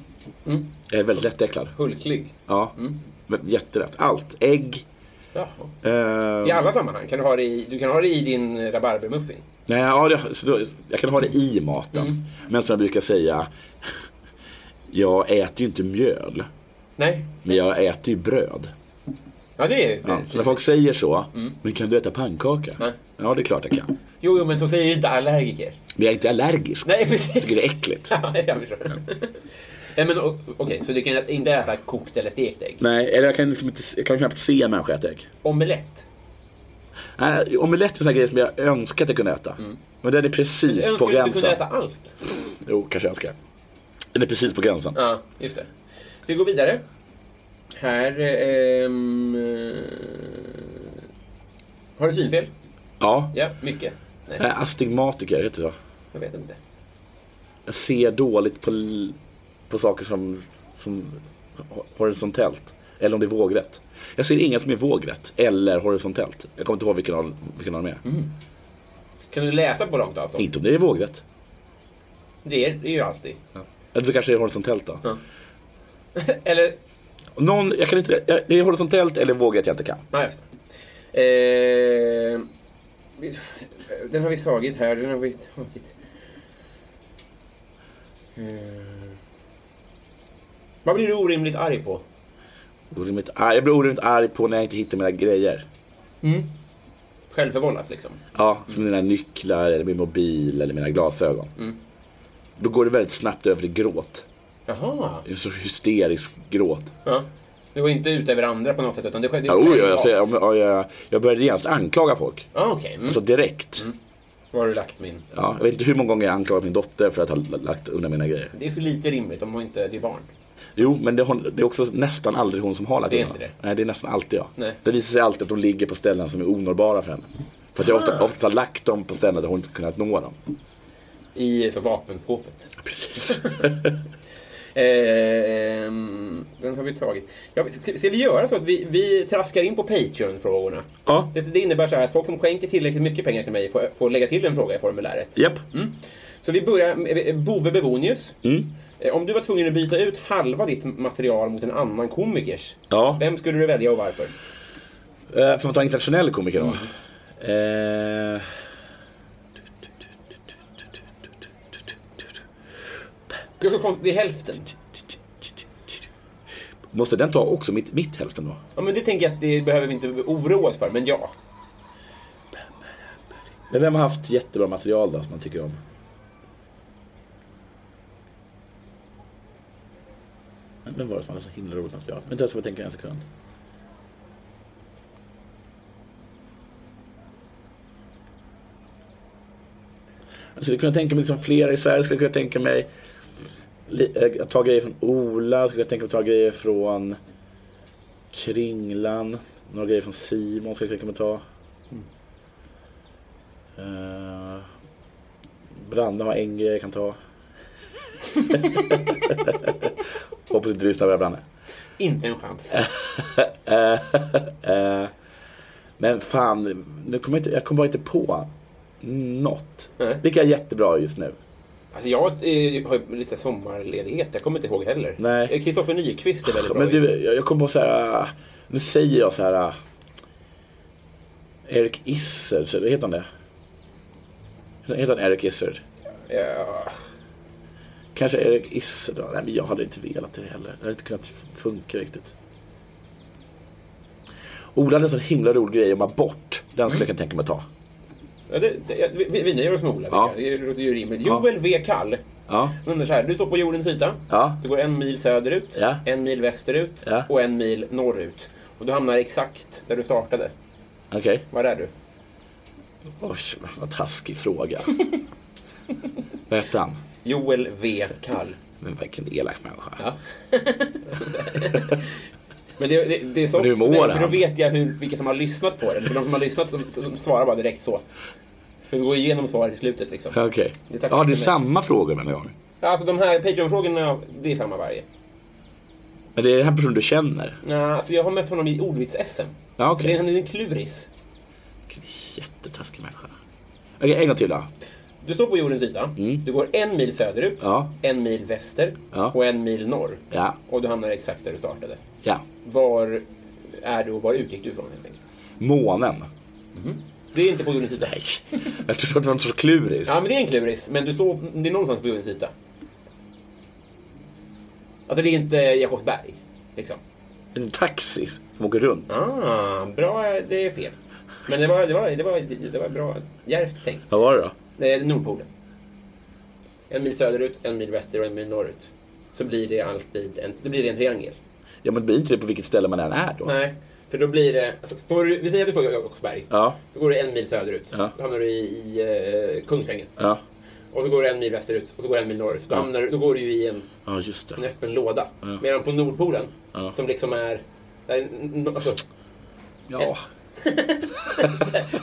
C: Jag är väldigt lättäcklad.
B: Hulklig?
C: Ja, jättelätt. Allt. Ägg.
B: Jaha.
C: Eh,
B: I alla sammanhang? Kan du, ha det i, du kan ha det i din eh, rabarbermuffin?
C: Nej, ja, det, så då, jag kan ha det i maten. Men som jag brukar säga, jag äter ju inte mjöl,
B: Nej?
C: men jag äter ju bröd.
B: Ja, det är ju...
C: Ja, så när folk säger så, men kan du äta pannkaka?
B: Mm. Nej.
C: Ja, det är klart jag kan.
B: Jo, jo, men så säger ju inte allergiker.
C: Men jag är inte allergisk.
B: Nej,
C: Jag tycker det
B: precis.
C: är äckligt.
B: Ja, jag förstår. Nej, men o- okej, så du kan inte äta kokt eller stekt ägg?
C: Nej, eller jag kan, liksom inte, jag kan knappt se en människa äta ägg.
B: Omelett?
C: Nej, omelett är en sån här grej som jag önskar att jag kunde äta. Men den är precis
B: Mm. Jag
C: på
B: önskar att du
C: gränsen.
B: kunde äta allt.
C: Jo, kanske jag önskar. Den är precis på gränsen.
B: Ja, just det. Vi går vidare. Här... ehm, eh, har du synfel?
C: Ja.
B: Ja, mycket. Nej,
C: Eh, Astigmatiker, heter det så?
B: jag vet inte.
C: Jag ser dåligt på, l- på saker som, som ho- horisontellt. Eller om det är vågrätt. Jag ser inget som är vågrätt eller horisontellt. Jag kommer inte ihåg vilken av, vilken
B: Mm.
C: av dem är.
B: Kan du läsa på långt avstånd?
C: Inte om det är vågrätt.
B: Det är det är ju alltid.
C: Eller det kanske är horisontellt då.
B: Eller...
C: Någon, jag kan inte, jag- det är horisontellt eller vågrätt jag inte kan.
B: Nej, just det. Ehm, vi- Den har vi tagit här. Den har vi tagit. Ehm, Vad blir du orimligt arg på?
C: Orimligt arg. Jag blir orimligt arg på när jag inte hittar mina grejer. Mm.
B: Självförvållat liksom.
C: Ja, som mina nycklar, eller min mobil eller mina glasögon.
B: Mm.
C: Då går det väldigt snabbt över till gråt.
B: Jaha.
C: En sorts hysterisk gråt.
B: Ja. Det går inte ut över andra på något sätt utan det skedde
C: Ja, oj, jag, alltså, jag, jag, jag, jag började genast anklaga folk.
B: Ah, Okej, Mm. mm.
C: Alltså direkt.
B: var har du lagt min?
C: Ja, jag vet inte hur många gånger jag anklagat min dotter för att ha l- lagt undan mina grejer.
B: Det är för lite rimligt, de har inte, det är barn.
C: Jo, men det, har- det är också nästan aldrig hon som har lagt
B: Det är
C: undan.
B: inte det.
C: Nej, det är nästan alltid jag.
B: Nej.
C: Det visar sig alltid att de ligger på ställen som är onåbara för henne. För att jag
B: Ah.
C: ofta, ofta har lagt dem på ställen där hon inte kunnat nå dem.
B: I så vapenskåpet.
C: Precis.
B: Ehm, den har vi tagit. Ja, ska, ska vi göra så att vi, vi traskar in på Patreon-frågorna?
C: Ja.
B: Det, det innebär så här att folk som skänker tillräckligt mycket pengar till mig får, får lägga till en fråga i formuläret.
C: Japp.
B: Så vi börjar med eh, Bove Bevonius.
C: Mm.
B: Eh, Om du var tvungen att byta ut halva ditt material mot en annan komikers,
C: Ja.
B: vem skulle du välja och varför?
C: Eh, Får man ta en internationell komiker då?
B: Mm.
C: Eh,
B: Det är så konstigt, Det är hälften.
C: måste den ta också mitt, mitt hälften då?
B: Ja, men det tänker jag att det behöver vi inte oroa oss för, men ja.
C: Men vem har haft jättebra material då som man tycker om? Men Vem var det som hade så himla roligt material? Vänta jag ska bara tänka en sekund. Jag skulle kunna tänka mig liksom flera i Sverige. Jag skulle kunna tänka mig li- eh, att ta grejer från Ola. Jag skulle kunna tänka mig att ta grejer från Kringlan. Några grejer från Simon skulle jag kunna tänka mig att ta. Uh, Brande har en grej jag kan ta. Hoppas inte du lyssnar på det här, Brande.
B: Inte en chans.
C: Äh. Eh, men fan, nu kommer jag, inte, jag kommer bara inte på något.
B: Nej.
C: Vilka är jättebra just nu?
B: Alltså jag eh, har ju lite sommarledighet, jag kommer inte ihåg heller.
C: Nej.
B: Eh, Kristoffer Nyqvist är väldigt bra.
C: Men du, jag, jag kommer på så här. ah, Nu säger jag så här. ah, Erik Izzard, så- heter han det? Heter han Erik Izzard?
B: Ja,
C: Kanske Erik Isse då? Nej, men jag hade inte velat det heller. Det hade inte kunnat funka riktigt. Ola hade en sån himla rolig grej om abort. Den skulle jag kunna tänka mig att ta.
B: Ja, det, det, ja, vi, vi nöjer oss med Ola.
C: Ja.
B: Det låter ju rimligt. Joel V. Kall.
C: Ja.
B: Undrar så här, du står på jordens yta.
C: Ja.
B: Du går en mil söderut,
C: Ja.
B: en mil västerut
C: Ja.
B: och en mil norrut. Och du hamnar exakt där du startade.
C: Okej.
B: Var är du?
C: Oj, vad taskig fråga. vad hette han?
B: Joel V. Kall.
C: Men vilken elak människa.
B: Ja. Men det, det, det är så
C: Men hur
B: för
C: mår
B: mig, för då
C: han?
B: vet jag hur, vilka som har lyssnat på det. För de som har lyssnat som, som svarar bara direkt så. För vi går igenom svaret i slutet liksom.
C: Okej.
B: Det tackar
C: Ja,
B: för
C: det
B: mig.
C: är samma frågor med en gång.
B: Alltså de här Patreon-frågorna, det är samma varje.
C: Men det är den här personen du känner?
B: Nej, alltså jag har mött honom i ordvits-SM.
C: Ja, okej.
B: Så det är- Han är en kluris.
C: Vilken jättetaskig människa. Okej, en gång till då.
B: Du står på jordens yta. Du går en mil söderut,
C: Mm. Ja.
B: en mil väster
C: Ja.
B: och en mil norr.
C: Ja.
B: Och du hamnar exakt där du startade.
C: Ja.
B: Var är du och var utgick du ifrån helt enkelt?
C: Månen.
B: Det är inte på jordens yta.
C: Nej. Jag trodde att det var en sorts kluris.
B: Ja, men det är en kluris. Men du står, det är någonstans på jordens yta. Alltså det är inte Jakobsberg. Liksom.
C: En taxi som åker runt.
B: Ah, bra, det är fel. Men det var, det var, det var, det var bra, djärvt tänkt.
C: Vad var det då?
B: Det är Nordpolen. En mil söderut, en mil väster och en mil norrut. Så blir det alltid en, det blir en triangel.
C: Ja men det blir inte det på vilket ställe man än är då?
B: Nej, För då blir det, alltså, står du, vi säger att du får Jakobsberg.
C: Ja.
B: Då går du en mil söderut.
C: Ja.
B: Då hamnar du i, i eh, Kungsängen.
C: Ja.
B: Och då går du en mil västerut och då går du en mil norrut. Då, hamnar, du- då går du ju i en,
C: Ja, just
B: en
C: det.
B: öppen låda. Medan på Nordpolen,
C: Ja.
B: som liksom är... där är n- n- Alltså,
C: Ja.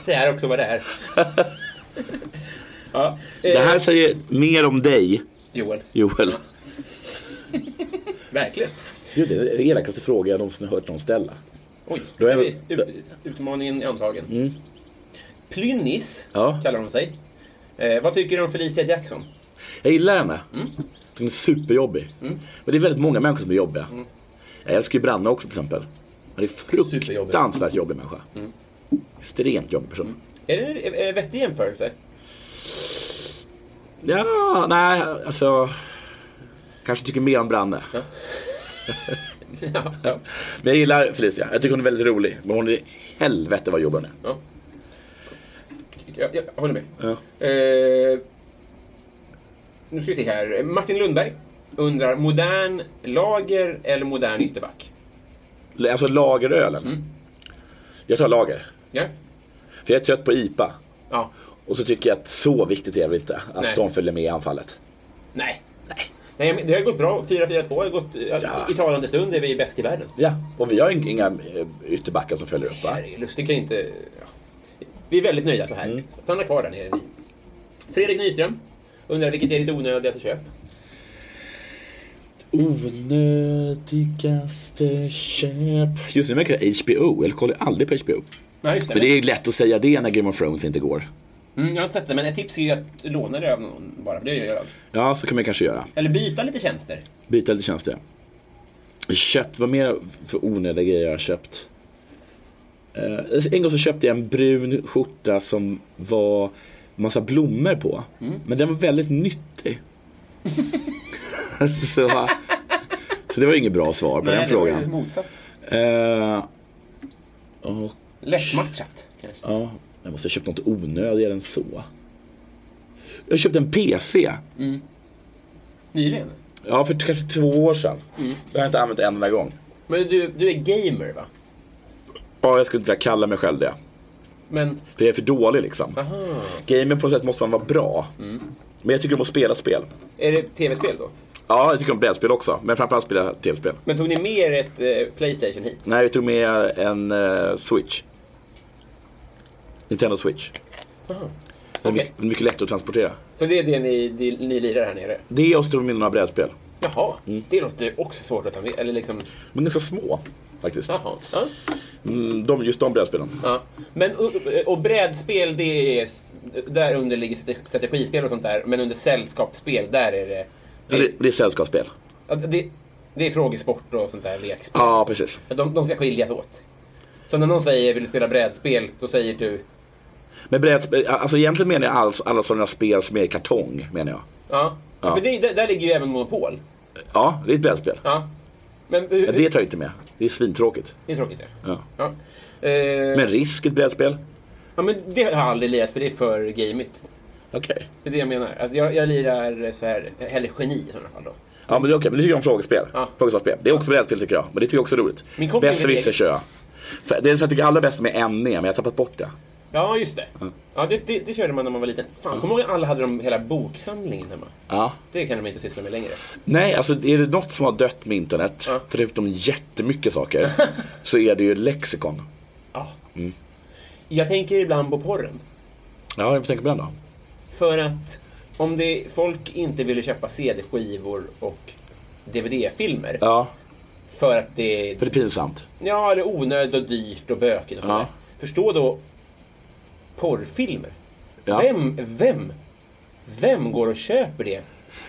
B: det är också vad det är. ja.
C: Det här säger mer om dig,
B: Joel.
C: Joel.
B: Verkligen.
D: Gud, det är den elakaste fråga jag någonsin har hört någon ställa.
B: Oj,
D: Då är
B: ska
D: vi-
B: vi, ut, utmaningen är antagen. Plynnis
C: Mm. Ja.
B: kallar hon sig. Eh, vad tycker du om Felicia Jackson?
C: Jag gillar henne. Hon är superjobbig. Men det är väldigt många människor som är jobbiga. Jag älskar ju Branne också till exempel. Han är fruktansvärt jobbig människa. Extremt jobbig person.
B: Är det en eh, vettig jämförelse?
C: Ja, nej, alltså. Kanske tycker mer om Branne.
B: ja.
C: Ja. Men jag gillar Felicia. Jag tycker hon är väldigt rolig. Men hon är helvete vad jobbig hon är.
B: Ja. Jag, jag håller med.
C: Ja.
B: Eh, nu ska vi se här. Martin Lundberg undrar, modern lager eller modern ytterback?
C: Alltså lagerölen. Jag tar lager.
B: Ja.
C: För jag är trött på IPA.
B: ja.
C: Och så tycker jag att så viktigt är det väl inte. Att
B: Nej.
C: de följer med i anfallet.
B: Nej. Nej. Nej, men det har gått bra. 4-4-2 har gått... eh,
C: Ja.
B: I talande stund är vi bäst i världen.
C: Ja, och vi har ing- inga eh, ytterbackar som följer upp va?
B: Nej, Lustig kan ju inte... Ja. Vi är väldigt nöjda så här.
C: Mm.
B: Stanna kvar där nere. Fredrik Nyström undrar vilket är ditt onödigaste köp?
C: Onödigaste köp. Just nu märker jag HBO. Jag kollar aldrig på HBO.
B: Nej, just det.
C: Men det är lätt att säga det när Game of Thrones inte går.
B: Mm, jag har inte sett det, men ett tips är ju att låna det av någon bara, för det gör jag.
C: Ja, så kan man kanske göra.
B: Eller byta lite tjänster.
C: Byta lite tjänster. Köpt, vad mer för onödiga grejer jag har köpt? Eh, en gång så köpte jag en brun skjorta som var massa blommor på.
B: Mm.
C: Men den var väldigt nyttig. så, så det var inget bra svar på den
B: Det
C: frågan.
B: var ju motsatt.
C: Eh, och,
B: Lättmatchat, kanske.
C: ja, jag måste ha köpt något onödigare än så. Jag köpte en PC.
B: Nyligen.
C: Ja, för kanske två år sedan.
B: Mm.
C: Jag har jag inte använt en enda gång.
B: Men du, du är gamer, va?
C: Ja, jag skulle inte vilja kalla mig själv det.
B: Men,
C: För jag är för dålig liksom.
B: aha.
C: Gamen på något sätt måste man vara bra. Men jag tycker om att spela spel.
B: Är det tv-spel då?
C: Ja, jag tycker om brädspel också. Men framförallt spela jag tv-spel.
B: Men tog ni med er ett eh, Playstation hit?
C: Nej, vi tog med en eh, Switch. Nintendo Switch. Den är
B: Okej.
C: mycket, mycket lättare att transportera.
B: Så det är det ni, det, ni lirar här nere?
C: Det och så tog vi med några brädspel.
B: Jaha,
C: Mm.
B: det låter ju också svårt att ta med. Eller liksom,
C: Men ganska små faktiskt.
B: jaha. Ja.
C: Mm, de, just de brädspelen.
B: Ja. Men, och, och brädspel, det är, där under ligger strate- strategispel och sånt där. Men under sällskapsspel, där är det...
C: Det,
B: Det,
C: det är sällskapsspel.
B: ja, det, det är frågesport och sånt där, lekspel.
C: Ja, precis.
B: De, de ska skiljas åt. Så när någon säger vill du spela brädspel, då säger du
C: Men brädspel, alltså egentligen menar jag alls, alla sådana spel som är i kartong, menar jag.
B: ja.
C: Ja.
B: För det, där, där ligger ju även Monopol.
C: Ja, det är ett brädspel.
B: Ja. Men hur,
C: Ja, det tar jag inte med. Det är svintråkigt.
B: det är tråkigt det.
C: Ja.
B: Ja. Eh,
C: Men risk ett brädspel?
B: ja, men det har jag aldrig lirat för det är för gameigt.
C: Okej.
B: Det är det jag menar. Alltså, jag, jag lirar så här, hellre geni i sådana fall då.
C: Ja, men det är okej. Men du tycker om frågespel?
B: Ja.
C: Frågesvarsspel. Det är också brädspel tycker jag. Men det tycker jag också är roligt.
B: Min kompis-
C: Besserwisser kör jag. För det som jag tycker allra bäst med är NE, men jag har tappat bort det.
B: Ja, just det. Ja, det, det, det körde man när man var liten. Fan, kommer du ihåg alla hade de hela boksamlingen hemma?
C: Ja.
B: Det kan de inte syssla med längre.
C: Nej, alltså är det något som har dött med internet,
B: Ja.
C: förutom jättemycket saker, så är det ju lexikon.
B: Ja. Mm. Jag tänker ibland på porren.
C: Ja, jag får tänka på den då.
B: För att om det, folk inte ville köpa CD-skivor och DVD-filmer
C: Ja,
B: för att det
C: för det är pinsamt.
B: ja, det är onödigt och dyrt och bökigt och
C: Ja.
B: sådär. Förstå då porrfilmer.
C: Ja.
B: Vem, vem, vem går och köper det?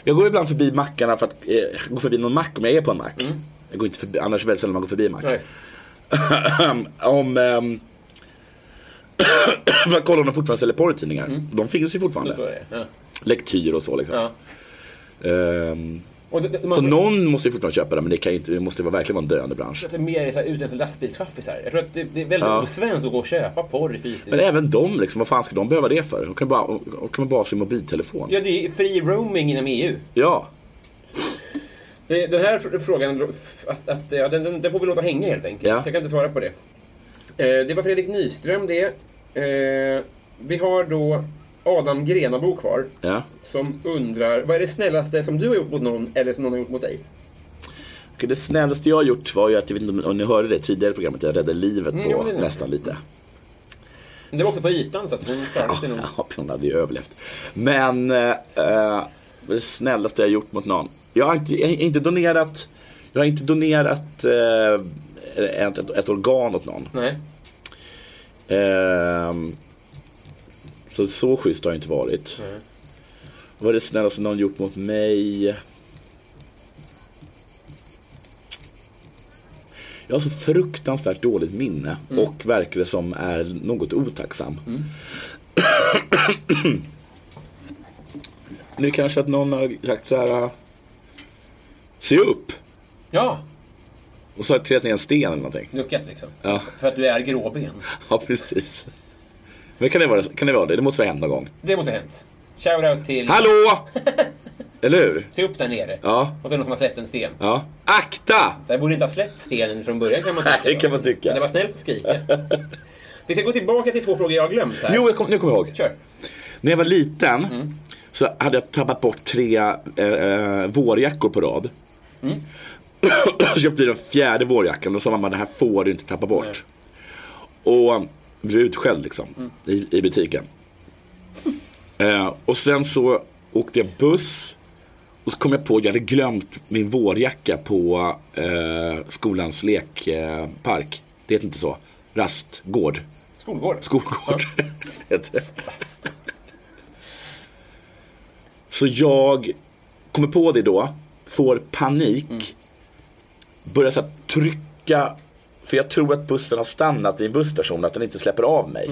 C: Jag går ibland förbi mackarna för att eh, gå förbi någon mack om jag är på en mack. Jag går inte förbi, annars är det väldigt sällan man går förbi en mack.
B: Nej.
C: om... ehm, för att kolla om de fortfarande säljer porrtidningar. De finns ju
B: Så är
C: fortfarande.
B: det. Ja.
C: Lektyr och så liksom.
B: Mm. Ja.
C: Ehm,
B: Och det, det, man
C: så
B: får-
C: någon måste ju fortfarande köpa det men det, kan ju inte, det måste vara verkligen vara en döende bransch.
B: att det är mer så här utländska lastbilschaffisar. Jag tror att det, det är väldigt
C: Ja.
B: osvenskt att gå och köpa porr fysiskt.
C: Men även de liksom, vad fan ska de behöva det för? De kan ju bara, de kan ju bara ha sin mobiltelefon.
B: Ja, det är fri roaming inom E EU.
C: Ja.
B: Det, den här fr- frågan, att, att, ja, den, den, den får vi låta hänga helt enkelt.
C: Ja.
B: Jag kan inte svara på det. Eh, det var Fredrik Nyström det. Eh, vi har då Adam Grenabo kvar.
C: Ja.
B: Som undrar, vad är det snällaste som du har gjort mot någon eller som någon har gjort mot dig?
C: Okej, Det snällaste jag har gjort var ju att, jag vet inte om ni hörde det tidigare i programmet, jag räddade livet
B: Mm, jo,
C: på
B: det är det.
C: nästan lite.
B: Men Det var också på ytan så att hon klarade sig nog.
C: Ja, hon hade ju överlevt. Men eh, eh, det snällaste jag gjort mot någon. Jag har inte, jag har inte donerat, jag har inte donerat eh, ett, ett, ett organ åt någon.
B: Nej.
C: Ehm, så så schysst har jag inte varit. Vad är det snällaste någon gjort mot mig? Jag har så fruktansvärt dåligt minne och verkar det som är något otacksam. nu kanske att någon har sagt så här. äh, Se upp!
B: Ja,
C: Och så har jag trillat ner en sten eller någonting.
B: nuckat liksom.
C: Ja.
B: För att du är gråben.
C: Ja, precis. Men kan det vara, kan det, vara det? Det måste vara hänt någon gång.
B: Det måste ha hänt. Shoutout till...
C: Hallå! Eller hur?
B: Se upp där nere.
C: Ja.
B: Och så är det någon som har släppt en sten.
C: Ja. Akta!
B: Där borde inte ha släppt stenen från början kan man tycka.
C: Nej, det kan man tycka.
B: Men det var snällt att skrika. Vi ska gå tillbaka till två frågor jag har glömt här.
C: Jo, jag kom, nu kommer jag ihåg.
B: Kör.
C: När jag var liten så hade jag tappat bort tre eh, eh, vårjackor på rad. så köpte jag den fjärde vårjackan och sa mamma det här får du inte tappa bort. Och blev utskälld liksom i, i butiken. Eh, och sen så åkte jag buss. Och så kom jag på att jag hade glömt min vårjacka på eh, skolans lekpark. Eh, park. det heter inte så. Rastgård.
B: Skolgård.
C: Skolgård. heter det. Så jag kommer på det då, får panik, börjar så här trycka, för jag tror att bussen har stannat i en busstation, att den inte släpper av mig.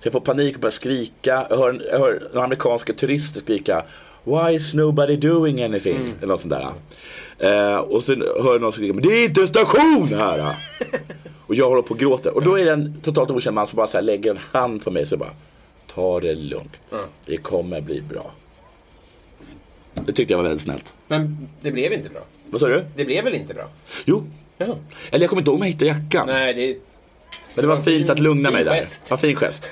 C: Så jag får panik och börjar skrika, jag hör, en- jag hör några amerikanska turister skrika Why is nobody doing anything? Eller något sånt där. Eh, och sen hör jag någon skrika, men det är inte en station här! Och jag håller på och gråter. Och då är det en totalt okänd man som bara så här lägger en hand på mig och bara Ta det lugnt. Det kommer bli bra. Det tyckte jag var väldigt snällt.
B: Men det blev inte bra.
C: Vad sa du?
B: Det blev väl inte bra?
C: Jo.
B: Ja.
C: Eller jag kommer inte ihåg om jag hittade jackan.
B: Nej, det...
C: Men det var fint att lugna
B: Fin
C: mig där.
B: gest.
C: Vad fin gest.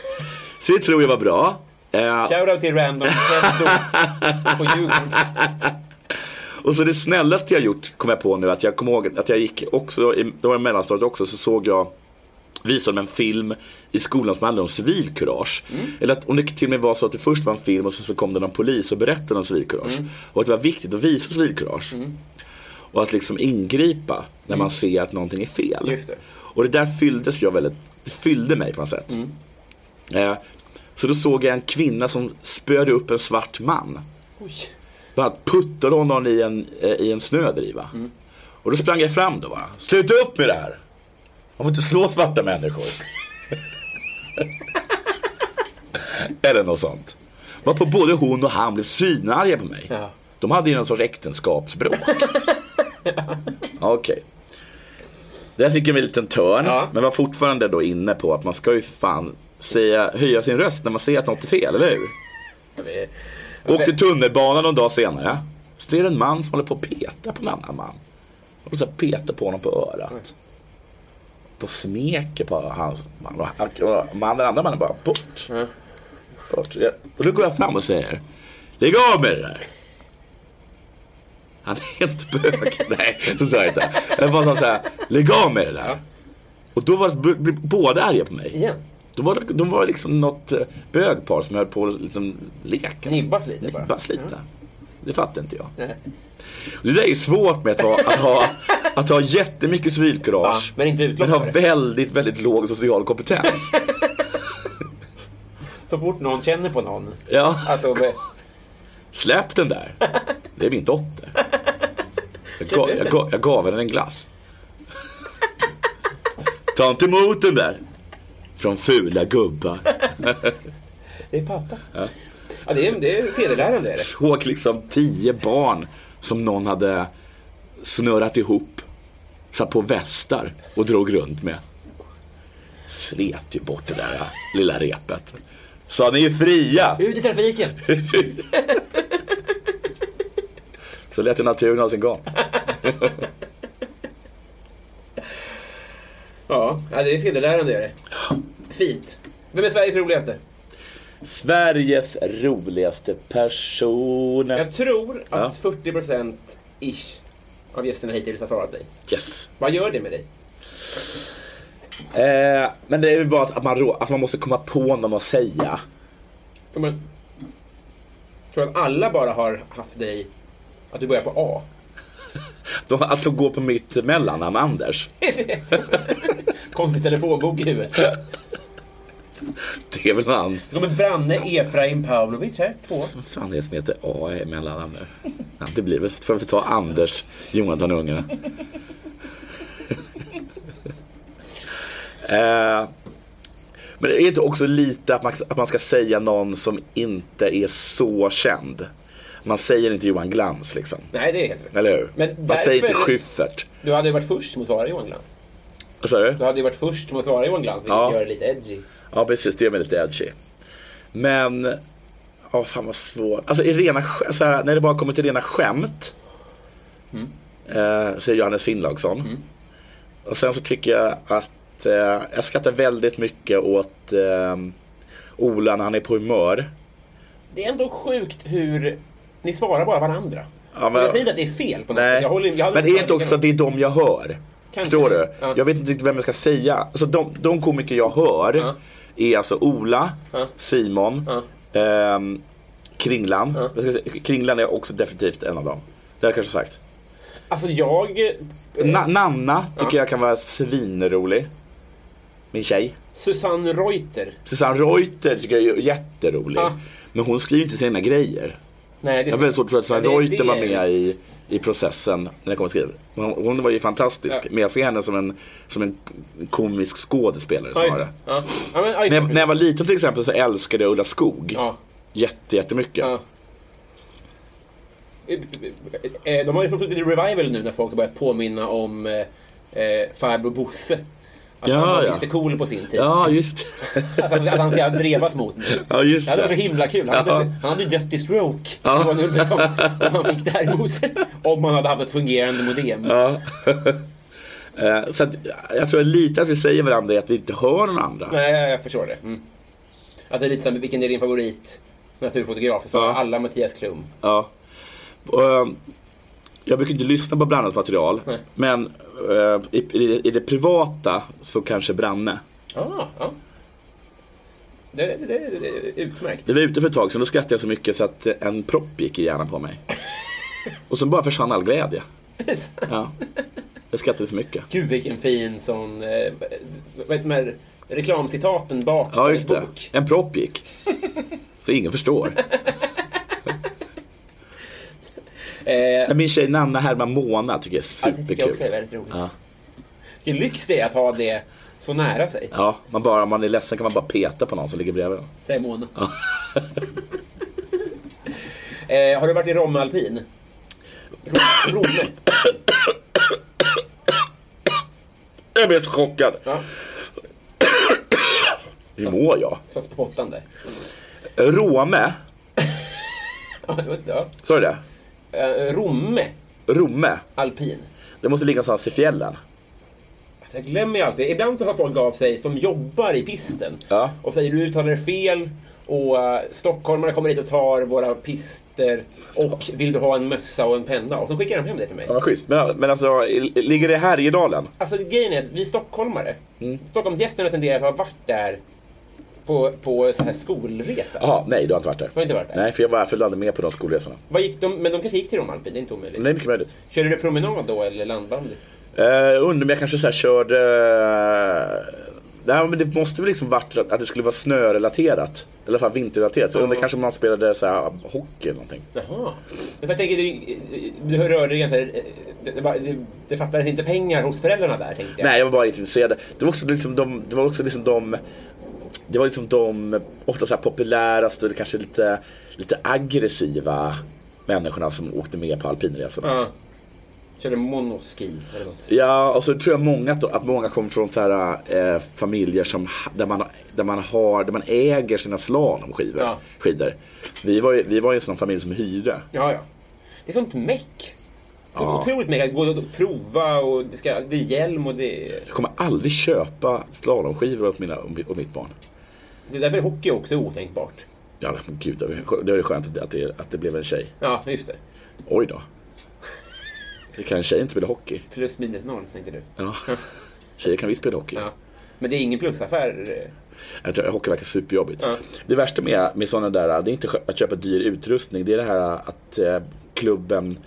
C: Så det tror jag var bra. Eh,
B: Shoutout till random Freddo på Djurgården.
C: och så det snällaste jag gjort kom jag på nu att jag kommer ihåg att jag gick också, i, det var i mellanstadiet också, så såg jag visade en film i skolan som handlade om civilkurage.
B: Mm.
C: Eller att om det till och med var så att det först var en film och sen så kom det någon polis och berättade om civilkurage.
B: Mm.
C: Och att det var viktigt att visa civilkurage. Och att liksom ingripa när man ser att någonting är fel.
B: Mm. Just det.
C: Och det där fylldes jag väldigt, det fyllde mig på något sätt.
B: Mm.
C: Eh, så då såg jag en kvinna som spöade upp en svart man.
B: Oj.
C: Bland annat puttade hon honom i en, eh, i en snödriva.
B: Mm.
C: Och då sprang jag fram då va. Sluta upp med det här! Man får inte slå svarta människor. Eller något sånt. Var på både hon och han blev svinarga på mig.
B: Ja.
C: De hade ju någon sorts äktenskapsbråk. Okej. Där fick jag mig en liten törn.
B: Ja.
C: Men var fortfarande då inne på att man ska ju för fan säga, höja sin röst när man ser att något är fel, eller hur?
B: Vi-
C: Åkte tunnelbana någon dag senare. Så det är en man som håller på att peta på en annan man. Och så petar på honom på örat. På smeker på hans man. Och han- Och man- den andra mannen bara bort. bort. Jag- Och då går jag fram och säger. Lägg av med det där. Han är inte bög. Nej, så sa jag inte. Jag bara sa så här. Lägg av med det där. Och då var b- b- båda arga på mig.
B: Igen.
C: Då var, det- de var liksom något eh, bögpar som höll på och liksom leka.
B: Nibbas lite bara.
C: Nibbas lite. Det fattar inte jag.
B: Nej.
C: Det där är ju svårt med att ha, att ha, att ha jättemycket civilkurage.
B: Ja, men inte utlopp för
C: Men ha
B: det.
C: väldigt, väldigt låg social kompetens.
B: Så fort någon känner på någon.
C: Ja,
B: Att de...
C: släpp den där. Det är min dotter. Jag gav, jag gav, jag gav henne en glass. Ta inte emot den där. Från fula gubbar.
B: Det är pappa. Ja. det är, det är sedelärande är det.
C: såg liksom tio barn som någon hade snurrat ihop, satt på västar och drog runt med. Slet ju bort det där äh, lilla repet. Sa ni är fria!
B: Ut i trafiken!
C: Så lät ju naturen ha sin gång.
B: Ja, ja det är sedelärande är det. Fint. Vem är Sveriges roligaste?
C: Sveriges roligaste personer.
B: Jag tror att 40% ish av gästerna hittills har svarat dig.
C: Yes.
B: Vad gör det med dig?
C: Eh, men det är ju bara att, att, man, rå- att man måste komma på någon att säga.
B: Tror man- Tror att alla bara har haft dig, att du börjar på A?
C: De, att de går på mitt mellannamn Anders.
B: Konstig telefonbok i huvudet.
C: Det är väl han.
B: Det kommer Branne Efraim Pavlovic här, två.
C: Vad fan är det som heter A i mellannamn nu? Ja, det blir väl, får vi ta Anders Jonathan Ungarna. eh, men det är inte också lite att man, att man ska säga någon som inte är så känd? Man säger inte Johan Glans liksom.
B: Nej, det är helt rätt.
C: Eller hur?
B: Men
C: man säger inte
B: därför-
C: Schyffert.
B: Du hade ju varit först med att svara Johan Glans.
C: Vad sa du?
B: Du hade ju varit först med att svara Johan Glans, vilket
C: Ja.
B: gör det lite edgy.
C: Ja, precis. Det gör mig lite edgy. Men, ja fan vad svårt. Alltså i rena, sk- så här, när det bara kommer till rena skämt. Eh, säger Johannes Finnlaugsson. Och sen så tycker jag att eh, jag skrattar väldigt mycket åt eh, Ola när han är på humör.
B: Det är ändå sjukt hur ni svarar bara varandra.
C: Ja, men-
B: Jag säger inte att det är fel på något
C: Nej.
B: sätt. Jag håller, jag hade-
C: men är det inte också att det är de jag hör?
B: Kanske
C: Förstår
B: det.
C: du?
B: Ja.
C: Jag vet inte riktigt vem jag ska säga. Alltså de, de komiker jag hör
B: Ja.
C: är alltså Ola,
B: Ja.
C: Simon, ehm, Kringlan. Jag ska säga, Kringlan är också definitivt en av dem. Det har jag kanske sagt.
B: Alltså jag... Eh.
C: Na, Nanna tycker jag kan vara svinrolig. Min tjej.
B: Susanne Reuter.
C: Susanne Reuter tycker jag är jätterolig.
B: Ja.
C: Men hon skriver inte sina egna grejer.
B: Nej, det
C: Jag har väldigt svårt att tro att Susanne
B: Ja, det-
C: Reuter
B: det
C: var
B: är-
C: med i, i processen när jag kom och skrev. Men Hon, hon var ju fantastisk.
B: Ja.
C: Men jag ser henne som en, som en komisk skådespelare
B: Ja, just
C: snarare.
B: det. Ja. Ja, men, ja, just
C: När jag,
B: det.
C: när jag var liten till exempel så älskade jag Ulla Skog
B: Ja.
C: jätte, jättemycket.
B: Ja. Eh, De har ju fått lite revival nu när folk har börjat påminna om eh, eh, farbror Bosse. Att
C: Ja,
B: han var
C: ja.
B: Mr Cool på sin tid.
C: Ja, just
B: Alltså att, att han ska drevas mot nu.
C: Ja, just
B: det hade
C: det.
B: varit så himla kul. Han,
C: Ja.
B: hade, han hade ju dött i stroke. Det var nu som, om han fick det här emot sig. Om man hade haft ett fungerande modem.
C: ja. Eh, Så att, jag tror lite att vi säger varandra är att vi inte hör varandra.
B: Nej, jag, jag förstår det. Mm. Att det är lite som, vilken är din favorit naturfotograf? Så
C: Ja.
B: alla Mattias Klum.
C: Ja. Och, eh, jag brukar inte lyssna på Brannes material. Men eh, i, i, i det privata så kanske Branne.
B: Ja, ja. Det, det, det, det är utmärkt.
C: Vi var ute för ett tag sedan, då skrattade jag så mycket så att eh, en propp gick i hjärnan på mig. Och sen bara försvann all glädje. Ja. Jag skrattade för mycket.
B: Gud vilken fin sån, eh, vad heter de här reklamcitaten bak
C: Ja, just
B: på
C: det.
B: en bok.
C: En propp gick. Så ingen förstår.
B: Eh,
C: Men Min tjej Nanna Herman Mona tycker jag
B: ja,
C: är
B: det tycker jag också är
C: superkul.
B: väldigt roligt. Vilken lyx det är att ha det så nära sig,
C: Ja, man bara, om man är ledsen kan man bara peta på någon som ligger bredvid en.
B: säger Mona. eh, har du varit i Romme Alpin? Rom- Romme?
C: Jag blev så chockad.
B: Ja,
C: Hur mår jag?
B: satt på pottan där.
C: Råme.
B: Ja, det var- ja.
C: Sa du det?
B: Eh, Romme
C: Romme.
B: Alpin.
C: Det måste ligga någonstans i fjällen.
B: Alltså, jag glömmer ju alltid. Ibland så har folk av sig som jobbar i pisten
C: Ja.
B: och säger du uttalar det fel och eh, stockholmarna kommer hit och tar våra pister och vill du ha en mössa och en penna? Och så skickar de hem det till mig.
C: Ja, vad schysst. Men, men alltså, i- ligger det här i dalen?
B: Alltså grejen är att vi stockholmare, Stockholmsgästerna tenderar att ha varit där på, på så här skolresa.
C: Jaha, nej du har inte varit där.
B: har inte varit där.
C: Nej, för jag var, följde aldrig med på de skolresorna.
B: Vad gick de, men de kanske gick till Rom Alpin, det är inte omöjligt.
C: Men det är mycket möjligt.
B: Körde du promenad då eller landbandy?
C: Uh, undrar om jag kanske så här körde... nej, men det måste väl liksom varit att att det skulle vara snörelaterat. Eller i alla fall vinterrelaterat. Så Undrar kanske om man spelade så här, eh, hockey eller någonting.
B: Jaha. Men jag tänker, du, du rörde dig ganska... eh, Det, det, var- det, det fattades inte pengar hos föräldrarna där, tänkte jag.
C: Nej, jag var bara intresserad. Det var också liksom de... Det var också liksom de det var liksom de ofta så här populäraste, eller kanske lite, lite aggressiva människorna som åkte med på alpinresorna.
B: Ja. Körde monoski eller något.
C: Ja, och så tror jag många att, att många kommer från så här, eh, familjer som, ha- där, man, där, man har, där man äger sina slalomskidor.
B: Ja.
C: Skidor. Vi var ju vi var ju en sån familj som hyrde.
B: Ja, ja. Det är sånt meck. Ja. Otroligt mycket. Att gå och prova och det, ska, det är hjälm och det...
C: Jag kommer aldrig köpa slalomskivor åt, mina, åt mitt barn.
B: Det är därför hockey också är otänkbart.
C: Ja, men gud, det var- det var ju skönt att det- att det, att det blev en tjej.
B: Ja, just det.
C: Oj då. Det kan en tjej inte spela hockey?
B: Plus minus noll, tänkte du.
C: Ja. Tjejer kan visst spela hockey.
B: Ja. Men det är ingen plusaffär. eh.
C: Jag tror, hockey verkar superjobbigt.
B: Ja.
C: Det värsta med, med sådana där, det är inte att köpa dyr utrustning. Det är det här att eh, klubben,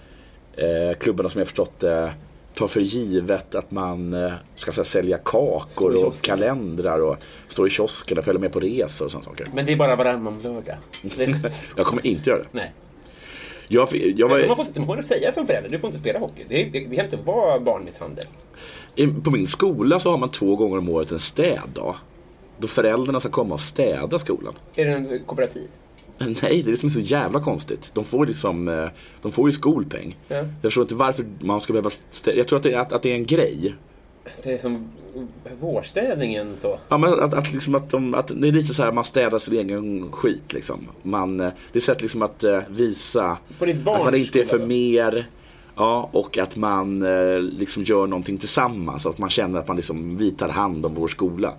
C: eh, klubbarna som jag förstått eh, tar för givet att man eh, ska så här, sälja
B: Står i
C: kakor och
B: kiosken.
C: kalendrar och står i kiosken och följer med på resor och sådana saker.
B: Men det är bara varannan lördag. Det-
C: Jag kommer inte göra det.
B: Nej.
C: Jag, jag
B: Men Man
C: var,
B: får, man får säga som förälder, du får inte spela hockey. Det, det, det kan inte vara barnmisshandel.
C: i- på min skola så har man två gånger om året en städdag. Då föräldrarna ska komma och städa skolan.
B: Är det en kooperativ?
C: Nej, det är det som är så jävla konstigt. De får, liksom, eh, de får ju skolpeng.
B: Ja.
C: Jag förstår inte varför man ska behöva... Stä- jag tror att det, är, att, att det är en grej.
B: Det är som vårstädningen så.
C: Ja, men att, att, liksom att, de, att det är lite så här man städar sin egen skit liksom. Man, eh, det är ett sätt liksom att eh, visa
B: På ditt barns
C: att man inte är för
B: skola, då?
C: mer. Ja, och att man eh, liksom gör någonting tillsammans. Att man känner att man liksom, vi tar hand om vår skola.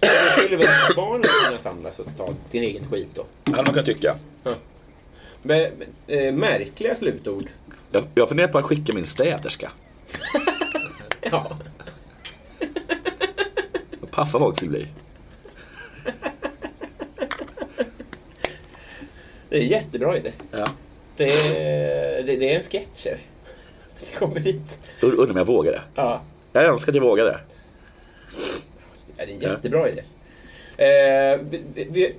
B: Då skulle väl barnen kunna samlas och ta sin egen skit då.
C: Ja, man kan tycka.
B: Men, eh, märkliga slutord.
C: Jag, jag funderar på att skicka min städerska.
B: Ja.
C: Vad paffa folk skulle bli.
B: Det är en jättebra idé.
C: Ja.
B: Det är, det, det är en sketcher. Det kommer dit.
C: Ur- Undrar om jag vågar det.
B: Ja.
C: Jag önskar att jag vågade.
B: Ja, det är en jättebra idé. Eh, vi, vi- vi,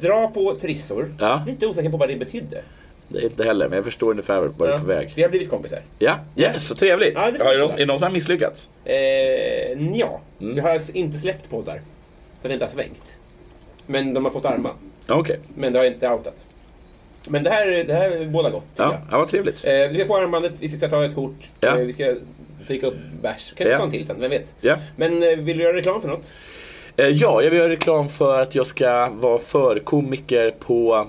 B: dra på trissor.
C: Ja.
B: Lite osäker på vad det betydde.
C: Det är inte heller, men jag förstår ungefär vart du är på
B: Vi
C: väg.
B: har blivit kompisar.
C: Ja, yes, så trevligt.
B: Ja, det var
C: Ja, är, det,
B: så.
C: är det någon som har misslyckats?
B: Eh, nja.
C: Mm.
B: Vi har alltså inte släppt poddar. För det inte har svängt. Men de har fått arma.
C: Ja, Okej.
B: Men det har inte outat. Men det här, det här båda gott. tycker
C: Ja,
B: jag.
C: ja, vad trevligt.
B: Eh, vi ska få armbandet, vi ska ta ett kort,
C: Ja.
B: eh, vi ska dricka upp bärs. Kanske
C: Ja.
B: ta en till sen, vem vet?
C: Ja.
B: Men eh, vill du göra reklam för något?
C: Eh, Ja, jag vill göra reklam för att jag ska vara förkomiker på,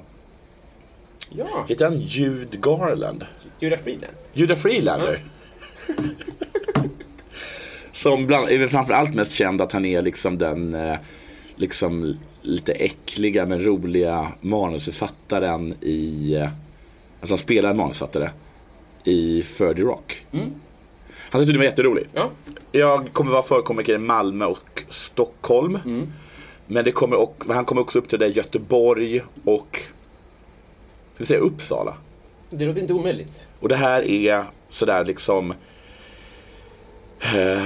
B: Ja,
C: heter han Jude Garland?
B: Julia Freeland.
C: Judah Freelander. Som bland, är väl framförallt mest känd att han är liksom den eh, liksom lite äckliga men roliga manusförfattaren i, eh, alltså han spelar en manusförfattare i 30 Rock. Han tyckte det var jätterolig.
B: Ja,
C: Mm. Jag kommer vara förkomiker i Malmö och Stockholm. Men det kommer och, han kommer också upp till det i Göteborg och, ska vi säga Uppsala?
B: det låter inte omöjligt.
C: Och det här är sådär liksom... Eh,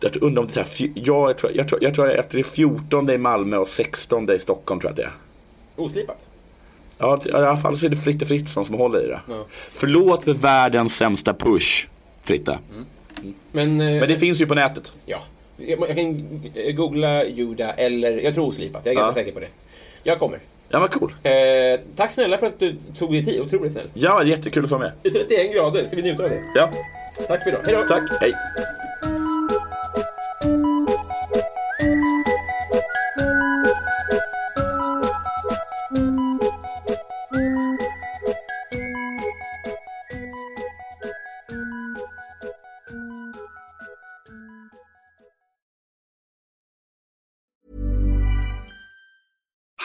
C: jag undrar om det är så här, fj- ja, jag, tror, jag, tror, jag tror att det är 14 i Malmö och 16 i Stockholm tror jag att det är.
B: Oslipat.
C: Ja, i alla fall så är det Fritte Fritzson som håller i det. Förlåt för världens sämsta push, Fritte.
B: Men, eh,
C: Men det finns ju på nätet.
B: ja. Jag, jag kan eh, googla Juda eller, jag tror oslipat, jag är ganska
C: Ja.
B: säker på det. Jag kommer.
C: Ja, vad cool.
B: Eh, tack snälla för att du tog dig tid, otroligt snällt.
C: Ja, jättekul att få vara med.
B: I 31 grader, ska vi njuta av det?
C: Ja,
B: Tack för idag, hejdå!
C: tack. Hej.